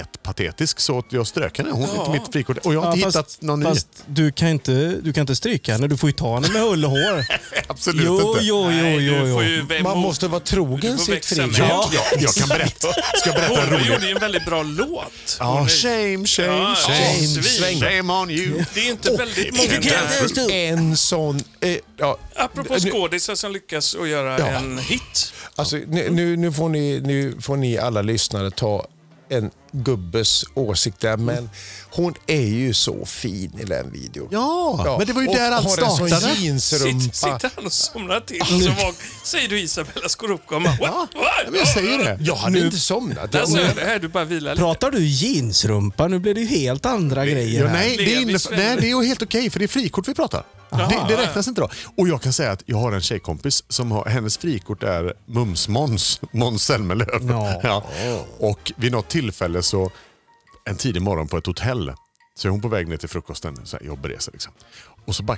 sketpatetisk så att jag strök henne. Hon är inte mitt frikort. Och jag har inte Ja, hittat någon fast du kan ju inte, du kan inte stryka henne. Du får ju ta henne med hull och hår. ny. Absolut Jo, inte. jo, jo, Nej, jo. du får jo. ju vem Man mot- måste vara du trogen får sitt växa frikort. med. Ja, ja, jag kan berätta. Ska jag berätta en Hon rolig... gjorde ju en väldigt bra låt. Hon Ja, är- shame, shame, Ja, shame. svin. Shame on you. Det är inte väldigt Det många... finns En sån... Eh, ja, Apropå nu- skådisar som lyckas att göra Ja. en hit. Alltså, nu, nu, nu, får ni, nu får ni alla lyssnare ta en gubbes åsikt där, men hon är ju så fin i den videon. Mm. Ja, men det var ju och där allt har en startade. sån jeansrumpa. Sitt, sitter han och somnar till och så vak- säger du Isabella Scorupco och man, Ja, what? ja, men jag säger det. Jag hade inte somnat. Där Jag, säger jag det här, du bara vilar lite. Pratar du jeansrumpa? Nu blir det ju helt andra grejer Ja, här. nej, det är, Levis inne, nej, det är ju helt okej för det är frikort vi pratar. Det, det räknas inte då. Och jag kan säga att jag har en tjejkompis som har, hennes frikort är Mums-Måns, Måns Zelmerlöw. Ja. Och vid något tillfälle så, en tidig morgon på ett hotell, så är hon på väg ner till frukosten, så här, jobbresa liksom. Och så bara,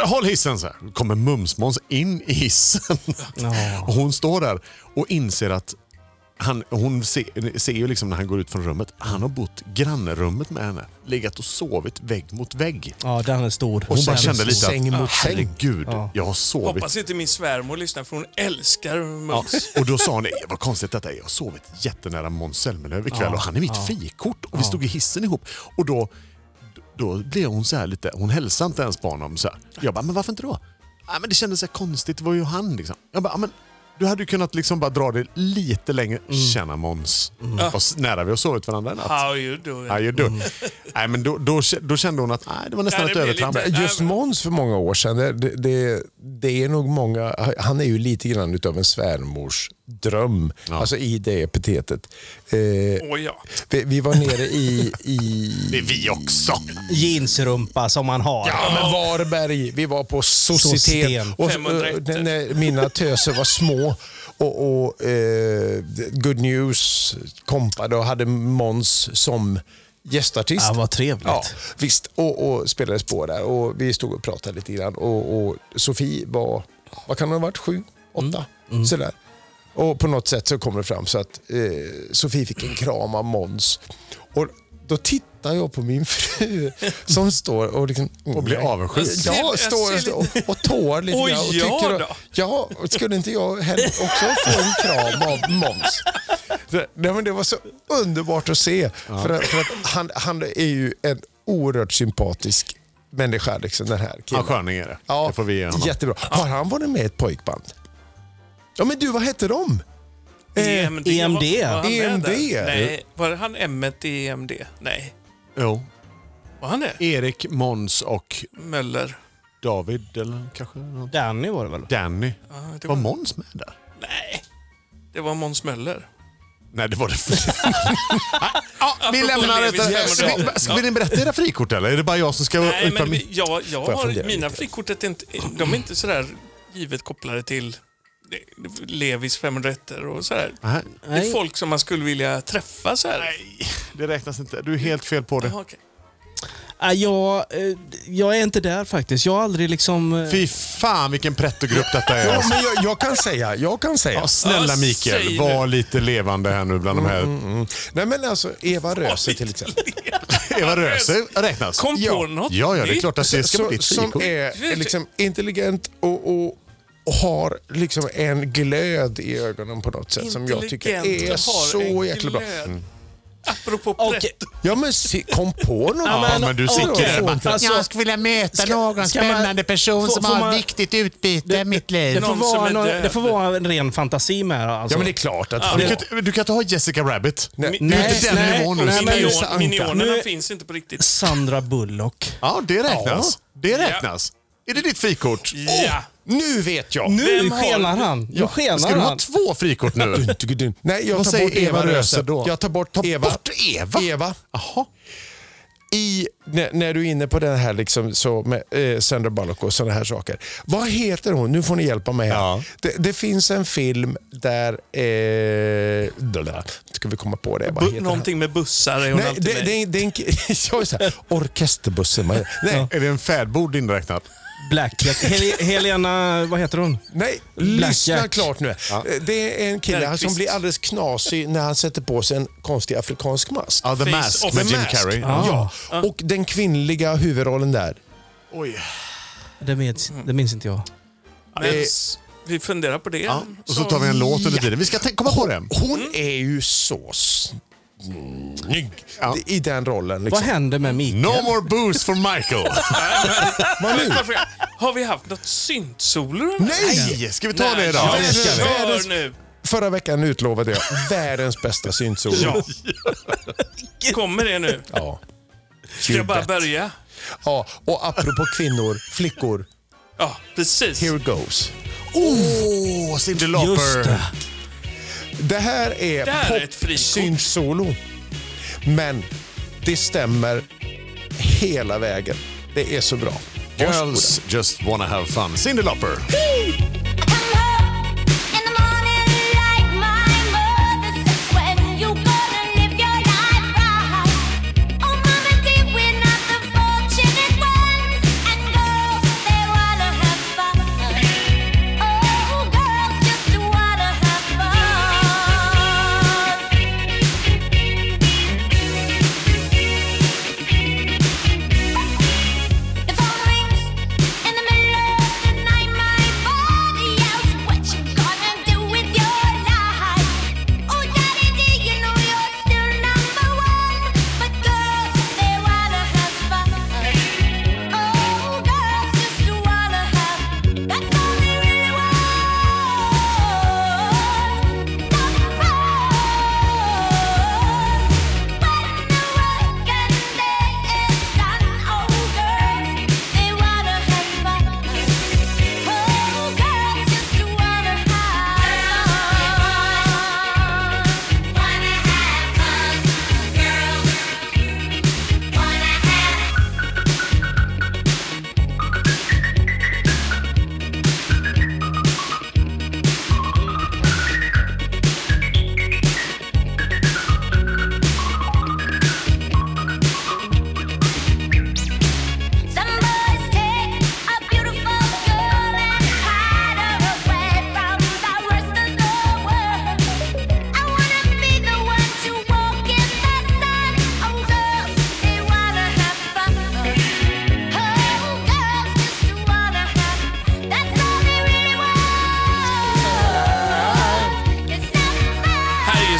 "Eh, håll hissen så här. Kommer Mums-Måns in i hissen. Och hon står där och inser att han, hon ser, ser ju liksom när han går ut från rummet, han har bott grannrummet med henne. Legat och sovit vägg mot vägg. Ja, den är stor. Hon Den bara är kände stor. lite säng att, "Ah, mot säng. herregud, jag har sovit. Hoppas inte min svärmor lyssnar för hon älskar Ja. Mums. Och då sa hon, "Nej, vad konstigt detta är. Jag har sovit jättenära Måns Zelmerlöw ikväll och han är mitt frikort. Och vi stod i hissen ihop. Och då, då blev hon så här lite, hon hälsade inte ens på honom. Så här. Jag bara, men varför inte då? "Nej, men det kändes så här konstigt, det var ju han liksom. Jag bara, "Ja, men du hade ju kunnat liksom bara dra det lite längre. Mm. Tjena Måns. Vad s- nära vi har sovit varandra i natt. How you doing? Ja, ju du. Nej, men då, då, k- då kände hon att nej, det var nästan Mm. Ja, det ett blir övertramp. lite- Just Måns för många år sedan, det, det, det är nog många... Han är ju lite grann utav en svärmors dröm. Alltså i det epitetet. Eh, Åh ja. vi, vi var nere i, i Det är vi också. Jeansrumpa som man har. Ja, men Varberg. Vi var på Societen. Societen. Och, eh, 501. när, när mina töser var små och, och eh, Good News kompade och hade Måns som gästartist. Ja, vad trevligt. Ja, visst. Och, och spelades på där och vi stod och pratade lite grann. Och, och Sofie var, vad kan hon ha varit, sju, åtta? Sådär. Och på något sätt så kommer det fram så att eh, Sofie fick en kram av Måns. Och då tittar jag på min fru som står och liksom... Och blir avundsjuk. Jag ser- Ja, jag står ser och, och, och tår lite Oj, grann och ja tycker då. Ja, skulle inte jag heller också få en kram av Måns? Det, nej, men det var så underbart att se. För att, för att han, han är ju en oerhört sympatisk människa, liksom, den här Ja, killen. sköning är det. Det får vi ge honom. Jättebra. Har han varit med i ett pojkband? Ja, men du, vad hette de? Eh, EMD. EMD. Var, var E han med EMD. där? Nej, var han M i EMD? Nej. Jo. Var han det? Erik, Måns och Möller. David eller kanske någon. Danny var det väl? Danny. Ja, det Var var, Måns med där? nej, det var Måns Möller. Nej, det var det Vi Apropå lämnar Levis detta. Ska, femårsdag. vi- ska vi berätta era frikort eller? Är det bara jag som ska Nej, yppa men min... vi- jag, jag jag har, fundera mina lite? frikort är inte, de är inte sådär givet kopplade till Levis 501 och sådär. Nej, Det är folk som man skulle vilja träffa så här. det räknas inte. Du är helt fel på det. Jaha, okej. Ja, jag, eh, jag är inte där faktiskt. Jag har aldrig liksom... eh, Fy fan vilken pretto-grupp detta är. Ja, alltså. men jag, jag kan säga. Jag kan säga. Ja, snälla Ja, Mikael, säg var lite levande här nu bland de Mm, här. Nej, men alltså Eva Röse till exempel. Eva Röse räknas. mm. Kom på ja. något Ja, ja, det är nytt. klart att det ska på Så, ditt som frikort. är liksom intelligent och, och, och har liksom en glöd i ögonen på något sätt som jag tycker Intelligent är och har så en jäkla bra. Mm. glöd. Apropå Okej. pretto. Ja men se, kom på något. Ja, Ja, men du sitter okej. där bara. Alltså, skulle vilja möta någon ska man- person får- får man- viktigt utbyte i mitt det, liv. får Någon som vara är någon, död. det får vara en ren fantasi med det, alltså. Ja men det är klart att... Du kan, inte- du kan inte ha Jessica Rabbit. Nej. Du är inte den nej, nivån nu. nej, men- Minion, Anka. minionerna Nu- finns inte på riktigt. Sandra Bullock. Ja, det räknas. Det räknas. Är det ditt frikort? Ja. Nu vet Mm. jag! Nu Vem har- skenar han. Nu skenar Ska du ha han. två frikort nu? Nej, jag Vad tar säger bort Eva, Eva Röse Röse. då? Jag tar bort Ta Eva. bort Eva? Eva. Jaha. I, när, när du är inne på den här liksom, så med eh, Sandra Bullock och sådana här saker. Vad heter hon? Nu får ni hjälpa mig här. Ja. Det, det finns en film där... Eh, då där. Ska vi komma på det? Vad heter Bu- han? någonting med bussar är hon Nej, alltid det, med. det, är- det är en... Jag är så här, orkesterbussen. Man, nej, Är det en färdbord inräknad? Blackjack. Hel- Helena... Vad heter hon? Nej, Black lyssna Jack. klart nu. Eh, Det är en kille här som Bergqvist. blir alldeles knasig när han sätter på sig en konstig afrikansk mask. Ja, The Face Mask of med the Jim Mask. Carrey. Ja, och den kvinnliga huvudrollen där. Oj. Det minns, det minns inte jag. Men s- vi funderar på det. Ja. Och så tar vi en låt under tiden. Vi ska tänka komma på det. Hon Mm. är ju så snygg Ja. i den rollen. Vad Liksom. händer med Mikael? No more booze for Michael. Men varför- Har vi haft något syntsolo? den här veckan? Nej! Ska vi ta det idag? Ja, det ska vi. kör nu. Förra veckan utlovade jag världens bästa syntsolo. Ja. Kommer det nu? Ja. Ska jag bara börja? Ja, och apropå kvinnor, flickor, Ja, precis. here goes. Åh, Cyndi Just Lauper. det. Det Det här här är är ett frikort. pop-syntsolo. Men det stämmer hela vägen. Det är så bra. Girls just wanna have fun. Cyndi Lauper. The phone rings in the middle of the night. My phone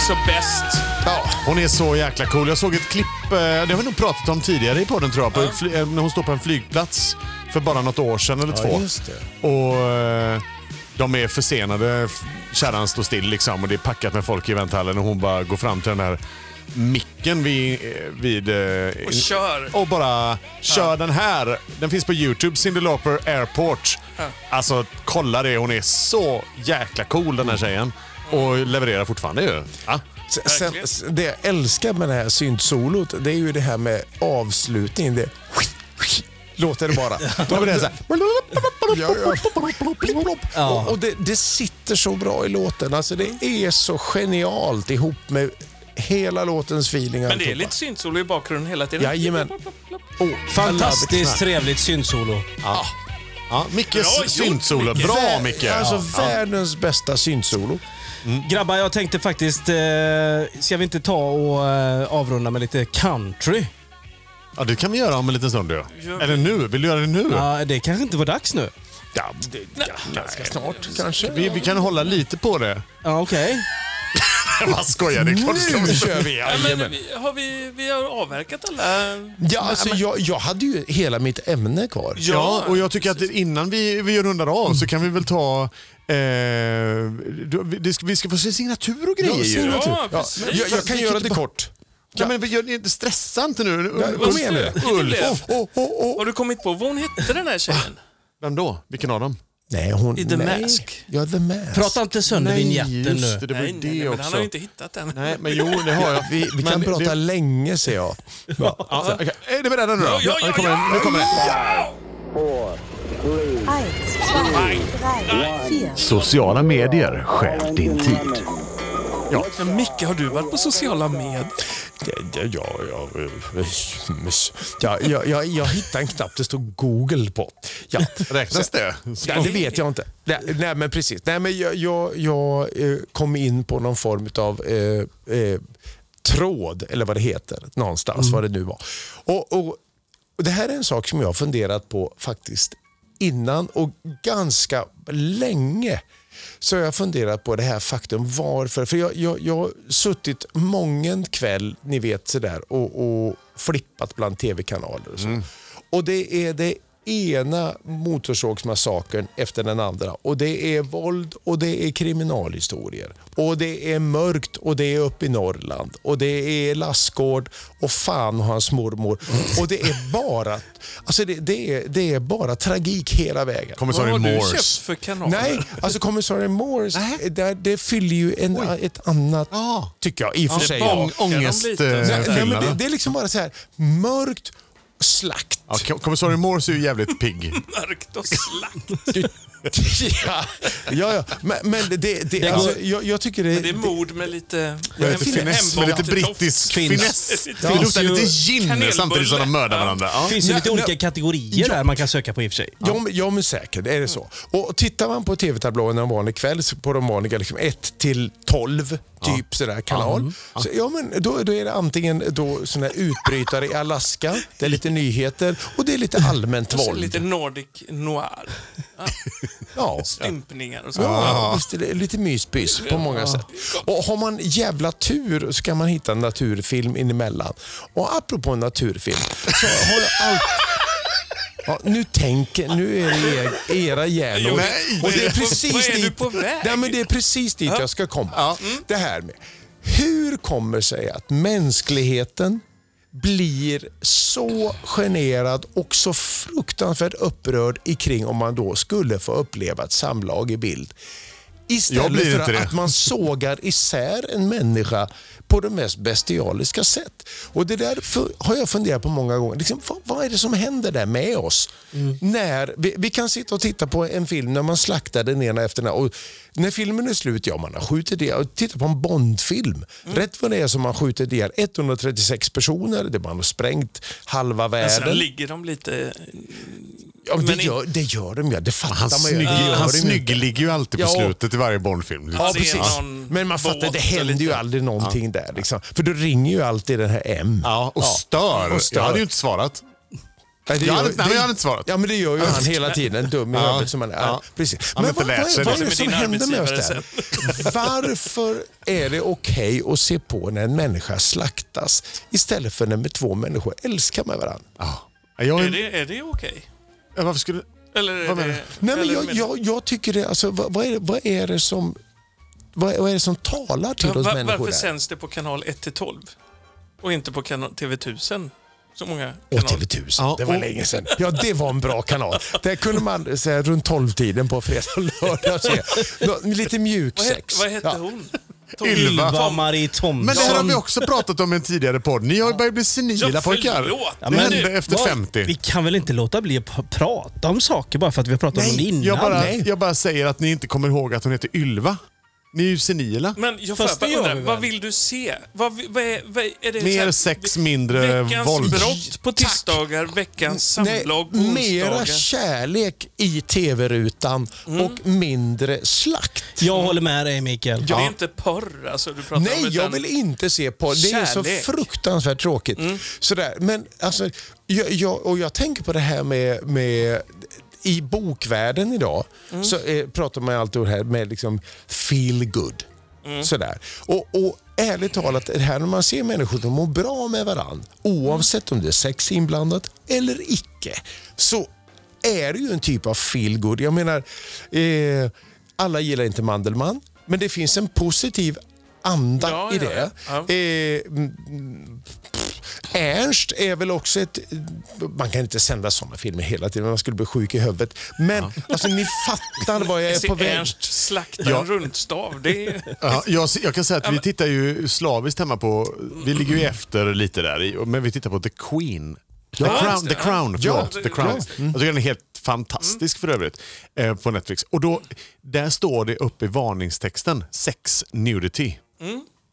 som bäst. Ja. Hon är så jäkla cool. Jag såg ett klipp, eh, det har vi nog pratat om tidigare i podden tror jag, på fly- eh, när hon står på en flygplats för bara något år sedan eller två. just Och eh, de är försenade, f- kärran står still liksom och det är packat med folk i vänthallen och hon bara går fram till den här micken vid... eh, vid eh, Och kör. och bara kör den här. Den finns på YouTube, Cyndi Lauper Airport. Alltså kolla det, hon är så jäkla cool Mm. den här tjejen. Och levererar fortfarande ju. Ja. Sen- Sen, s- det jag älskar med det här syntsolot, det är ju det här med avslutningen. Det låter det bara. Då blir det så här. Ja, ja. Och, och det, det sitter så bra i låten. Alltså det är så genialt ihop med hela låtens feeling. Men det är lite syntsolo i bakgrunden hela tiden. Jajamän. Fantastiskt trevligt syntsolo. Ja, Bra Mickes gjort, syntsolo. Micke. Bra Micke! Alltså Ja. världens bästa syntsolo. Grabbar, jag tänkte faktiskt... Eh, ska vi inte ta och eh, avrunda med lite country? Ja, det kan vi göra om en liten stund. Du. Gör vi. Eller nu. Vill du göra det nu? Ja, det kanske inte var dags nu. Ja, det- Ganska snart kanske. vi, vi kan hålla lite på det. Ja, okej. Jag bara skojar. Det är klart ska vi Nu kör vi! Ja, men, vi- har vi, vi har avverkat alla... Ja, alltså, jag, jag hade ju hela mitt ämne kvar. Ja, och jag tycker att innan vi, vi rundar av så kan vi väl ta... Eh, du- vi- det ska, vi ska få se signatur och grejer ju. signatur. Ja, precis. men jag, jag kan göra det kort. Ja, men vi gör, ni- stressa inte nu. kom igen nu. Ulf. Ulf. Oh, oh, oh, oh. Har du kommit på vad hon hette den här tjejen? Vem då? Vilken av dem? Nej, hon... I The nej. Mask. Ja, The Mask. Prata inte sönder vinjetten just nu. det. Det var ju Nej, det nej, nej, men också. han har ju inte hittat den. Nej, men jo, det har jag. Vi, vi Men kan prata länge, ser jag. Ja. Ja, okej. Är ni beredda nu då? Ja, ja, ja, nu kommer den. Nu kommer den. Eins, zwei, drei, vier. Sociala medier stjäl din tid. Men Micke, har du varit på sociala medier? Ja, ja, ja, ja, ja, ja, jag hittade en knapp det stod Google på. Ja. Räknas det? Ja, det vet jag inte. Nej, nej men precis. Nej, men jag jag, jag eh, kom in på någon form av eh, eh, tråd, eller vad det heter, någonstans, vad det nu var. Och, och, och Det här är en sak som jag har funderat på faktiskt innan och ganska länge. Så har jag funderat på det här faktum varför. För jag, jag, jag har suttit mången kväll, ni vet sådär, och, och flippat bland tv-kanaler och så. Och det är det ena motorsågsmassakern efter den andra. Och det är våld och det är kriminalhistorier. Och det är mörkt och det är uppe i Norrland. Och det är Lassgård och fan och hans mormor. Och det är bara, alltså det, det, är, det är bara tragik hela vägen. Kommissarie vad har du Morse. köpt för kanal? Nej, alltså kommissarie Moores, där, det fyller ju en, ett annat, Ja. tycker jag. I och för sig. Eh, barn- Ång, eh, Bakar de lite? Nej, nej, men det, ångestfyllnaden. det är liksom bara så här mörkt, slakt. Ja, kom- Kommissarie Morse är ju jävligt pigg. Mörkt och slakt. ja, ja, ja. Men, men det, det, alltså, jag, jag tycker det, Det är mord med lite... Med lite hembakt finess, med lite till tofs. brittisk Finns. finess. Finns Det luktar ju lite gin kanelbulle. samtidigt som de mördar varandra. Ja. Det finns ju Nej, lite nej. olika kategorier där man kan söka på i och för sig. Ja, men, ja, men säkert är det så. Och tittar man på tv-tablåerna en vanlig kväll, så på de vanliga liksom 1 till 12, typ sådär kanal. Så, ja, men då, då är det antingen då såna här utbrytare i Alaska, det är lite nyheter och det är lite allmänt Kanske våld. Lite Nordic noir. Ja. Stympningar och så. Ja, visst är det lite myspys på många sätt. Och har man jävla tur så kan man hitta en naturfilm inemellan. Och apropå en naturfilm så har jag allt... Ja, nu tänker, nu är det er, era hjärnor. Nej, och det är vad är precis du dit, på väg? nej, men det är precis dit jag ska komma. Mm. Det här med, hur kommer sig att mänskligheten blir så generad och så fruktansvärt upprörd i kring om man då skulle få uppleva ett samlag i bild. Jag Istället blir för inte det. att man sågar isär en människa på det mest bestialiska sätt. Och Det där fu- har jag funderat på många gånger. Liksom, vad, vad är det som händer där med oss? När vi, vi kan sitta och titta på en film när man slaktar den ena efter den andra. Och När filmen är slut, ja man har skjutit det. Och Titta på en Bondfilm. Rätt vad det är som man skjutit ihjäl 136 personer. Det man har sprängt halva Men Sen världen. ligger de lite... Ja, men det, Alltså, men i- gör, det gör de ju. Det fattar Han, man ju. snygg, Det gör han de ju. snygg ligger ju alltid på Ja. slutet i varje Bondfilm. Ja, ser precis. någon Men man fattar, båt det och händer ju lite- aldrig någonting där. Liksom. För då ringer ju alltid den här M. Ja, och, Stör. Och stör. Jag hade ju inte svarat. Nej, det Jag hade gör- inte- nej, det- jag hade inte svarat. Ja, men det gör ju han hela tiden, dum i Ja. huvudet som han är. Ja. Precis. Han har Men inte vad, lärt vad, sig vad det. är det Med som din händer med oss arbetsgivare där? Varför är det okej att se på när en människa slaktas istället för när två människor älskar med varandra? Jag, Är det, är det okej? jag, varför skulle... Eller är Vad det... menar Nej, men eller jag, menar- jag, jag tycker det, alltså, vad, vad, är det vad är det som vad, vad är det som talar till Ja, oss va- människor? varför där? sänds det på kanal 1 till 12? Och inte på kanal TV1000? Så många Och kanaler. TV1000, Ja, det var och- länge sedan. Ja, det var en bra kanal. Där kunde man så här, runt tolvtiden på fredag och lördag se Nå- lite mjuk Vad, het, sex. vad hette Ja. hon? Ylva. Ylva-Marie Thomsson. Men det här har vi också pratat om i en tidigare podd. Ni har ju börjat bli senila Ja, pojkar. förlåt. Det Ja, men hände nu- efter Vad? 50. Vi kan väl inte låta bli att p- prata om saker bara för att vi har pratat om det innan? Jag bara, Nej. jag bara säger att ni inte kommer ihåg att hon heter Ylva. Ni är ju senila. Men jag får Fast bara det gör undra, vi väl. vad vill du se? Vad, vi- vad är, vad är är det så Mer här- sex, mindre Veckans våld. brott på tisdagar, veckans Nej, samlag på mera onsdagar. kärlek i tv-rutan Mm. och mindre slakt. Jag håller med dig Mikael. Det är inte porr alltså, du pratar om. Nej, jag utan- vill inte se på Det är så Kärlek. fruktansvärt tråkigt. Sådär. Men alltså, jag, jag, och jag tänker på det här med, med i bokvärlden idag så eh, pratar man alltid om det här med liksom feel good. Sådär. Och, och ärligt talat, det här när man ser människor som mår bra med varandra, oavsett om det är sex inblandat eller icke, så är det ju en typ av feel good. Jag menar, eh, alla gillar inte Mandelmann, men det finns en positiv anda Ja, i ja, det. ja. Ja. Eh, mm, mm, pff, Ernst är väl också ett... Man kan inte sända sådana filmer hela tiden, man skulle bli sjuk i huvudet. Men alltså, ni fattar vad jag är Se på väg. Ernst slakta en Ja. rundstav. Det är... Ja, jag, jag kan säga att vi tittar ju slaviskt hemma på... Vi ligger ju efter lite där, i- men vi tittar på The Queen. The Ja, Crown, just The det. Crown, Ja, Mm. förlåt. det- The Crown. Jag tycker den är helt fantastisk för övrigt. Eh, på Netflix. Och då, där står det uppe i varningstexten, sex nudity.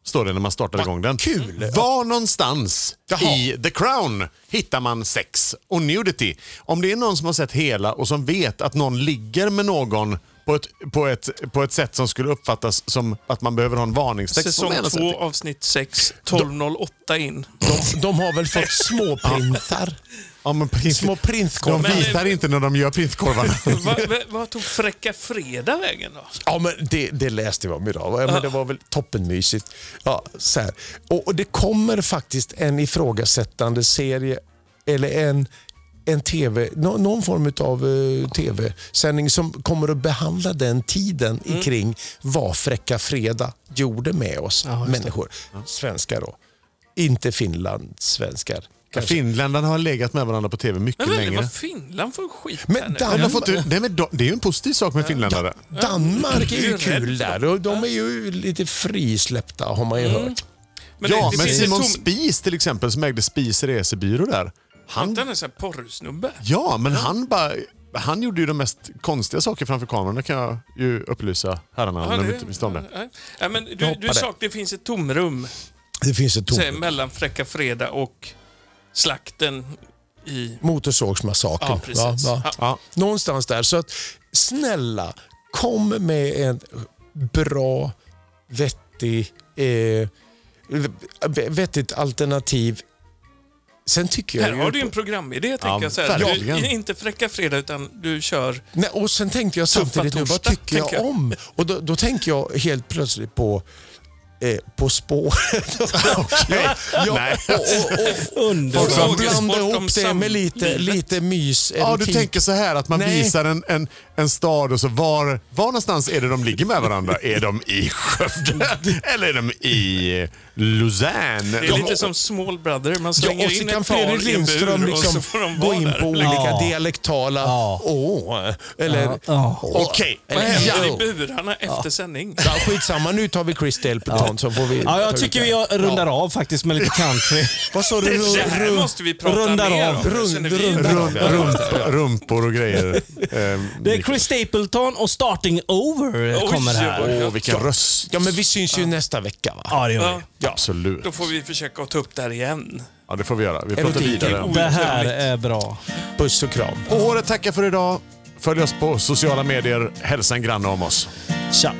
Står det när man startar igång den. Mm. kul! Var någonstans Jaha. i The Crown hittar man sex och nudity? Om det är någon som har sett hela och som vet att någon ligger med någon på ett, på ett, på ett sätt som skulle uppfattas som att man behöver ha en varningstext. Säsong på ena 2 sättet. avsnitt 6, 12.08 in. De, de har väl fått småprinsar? Ja, men prins, Små prinskorvar. de Men- visar inte när de gör prinskorvarna. Vad va, vad tog Fräcka Fredag vägen då? Ja, men det, det läste jag om idag. Ja, men det var väl toppenmysigt. Ja, så här. Och, och det kommer faktiskt en ifrågasättande serie eller en, en TV, nå- någon form av eh, tv-sändning som kommer att behandla den tiden i kring vad Fräcka Fredag gjorde med oss människor. Svenskar då. Inte Finland, svenskar. Kanske. Finländarna har legat med varandra på tv mycket Men vänta, längre. vad Finland får skit Men här nu. Dan- Men de har fått, nej, men de, det är ju en positiv sak med finländare. Danmark är Jag ju är rädd kul för där. och De är ju lite frisläppta har man ju hört. Men det- ja, det men finns ju Simon tom- Spies till exempel som ägde Spies resebyrå där. Han, Han är en sån här porrsnubbe. ja, men han bara... Han gjorde ju de mest konstiga saker framför kamerorna kan jag ju upplysa herrarna Ja, om de det- inte visste om det. ja, ja, men du, hoppade. du sa att det finns ett tomrum Det finns ett tomt. säg, mellan Fräcka Fredag och slakten i... Motorsågsmassakern. Ja, precis. Ja, ja. Ja. Någonstans där. Så att, snälla, kom med en bra, vettig, eh, v- vettigt alternativ. Sen tycker jag Här har du ju en programidé, tänker jag. Så här. verkligen. Du, inte Fräcka Fredag, utan du kör... Nej, och sen tänkte jag samtidigt nu, vad torsdag, tycker jag, tänker jag. om? Och då, då tänker jag helt plötsligt på eh, På spåret. ja, ja, och, och, och, Underbart. och så Frågesport blanda om ihop det med lite, samlivet. lite mys. Ja, du erotik. tänker så här att man Nej. visar en, en, en stad och så var, var någonstans är det de ligger med varandra? är de i Skövde? Eller är de i Lausanne? Det är lite som Small Brother, man Ja, slänger och så in kan ett par Fredrik i en bur Lindström och så liksom får de gå vara in där. på olika Ja. dialektala Ja. åh. Eller Ja. åh. Okej, vad Eller, händer Händer ja. i burarna efter sändning. Ja, skitsamma, nu tar vi Chris Delpeton så får vi... Ja, ta jag ut tycker det. vi rundar av faktiskt med lite country. Vad sa du? Det Ru- här ru- måste vi prata rundar mer av. om. Rund- känner vi. rundar av. Rump, rump, rumpor och grejer. Ehm, Det är Chris Stapleton och Starting Over Oj, kommer här. oj, oj. Åh, vilken röst. Ja, men vi syns ju nästa vecka va? Ja, det gör Ja, vi. Absolut. då får vi försöka att ta upp det här igen. Ja, det får vi göra. Vi pratar det vidare. vilken om- Det här är bra. Puss och kram. Och håret tackar för idag. Följ oss på sociala medier. Hälsa en granne om oss. Tja.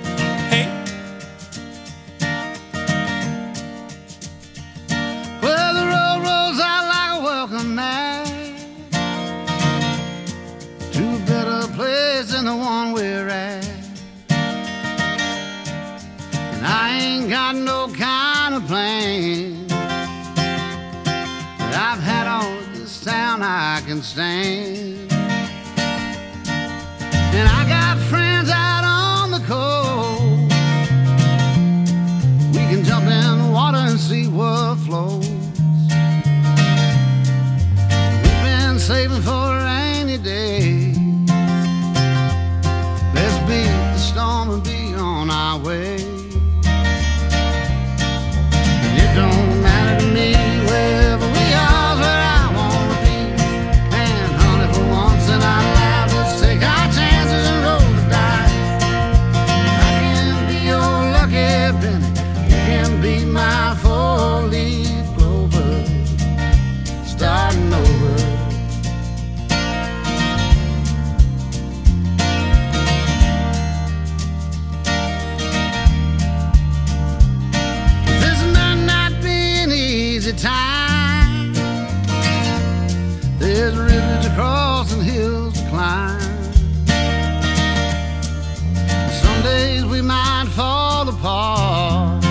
Hej! Well, the road rolls out like a welcome mat. the one way ride. And I ain't got no kind of plan. But I've had all of this town I can stand. And I got friends out on the coast. We can jump in the water and see what flows. We've been saving for a rainy day. Let's beat the storm and be on our way. And it don't matter to me wherever we are, where I wanna be. And honey, for once in our lives, let's take our chances and roll the dice. I can be your lucky penny, you can be my four-leaf clover. Starting over. This might not be an easy time. There's rivers to cross and hills to climb. Some days we might fall apart,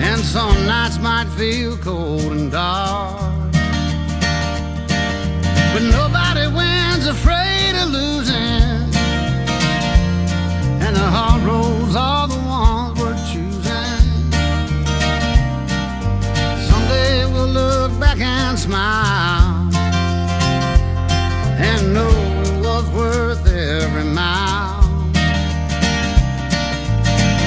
and some nights might feel cold and dark. But nobody wins afraid of losing. And the hard roads are the ones we're choosing. Someday we'll look back and smile and know it was worth every mile.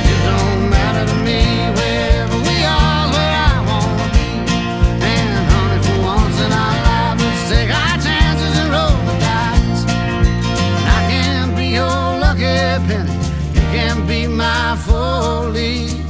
It don't matter to me wherever we are, where I wanna be. And honey, for once in our lives, let's take our chances and roll the dice. I can be your lucky penny. You can be my four-leaf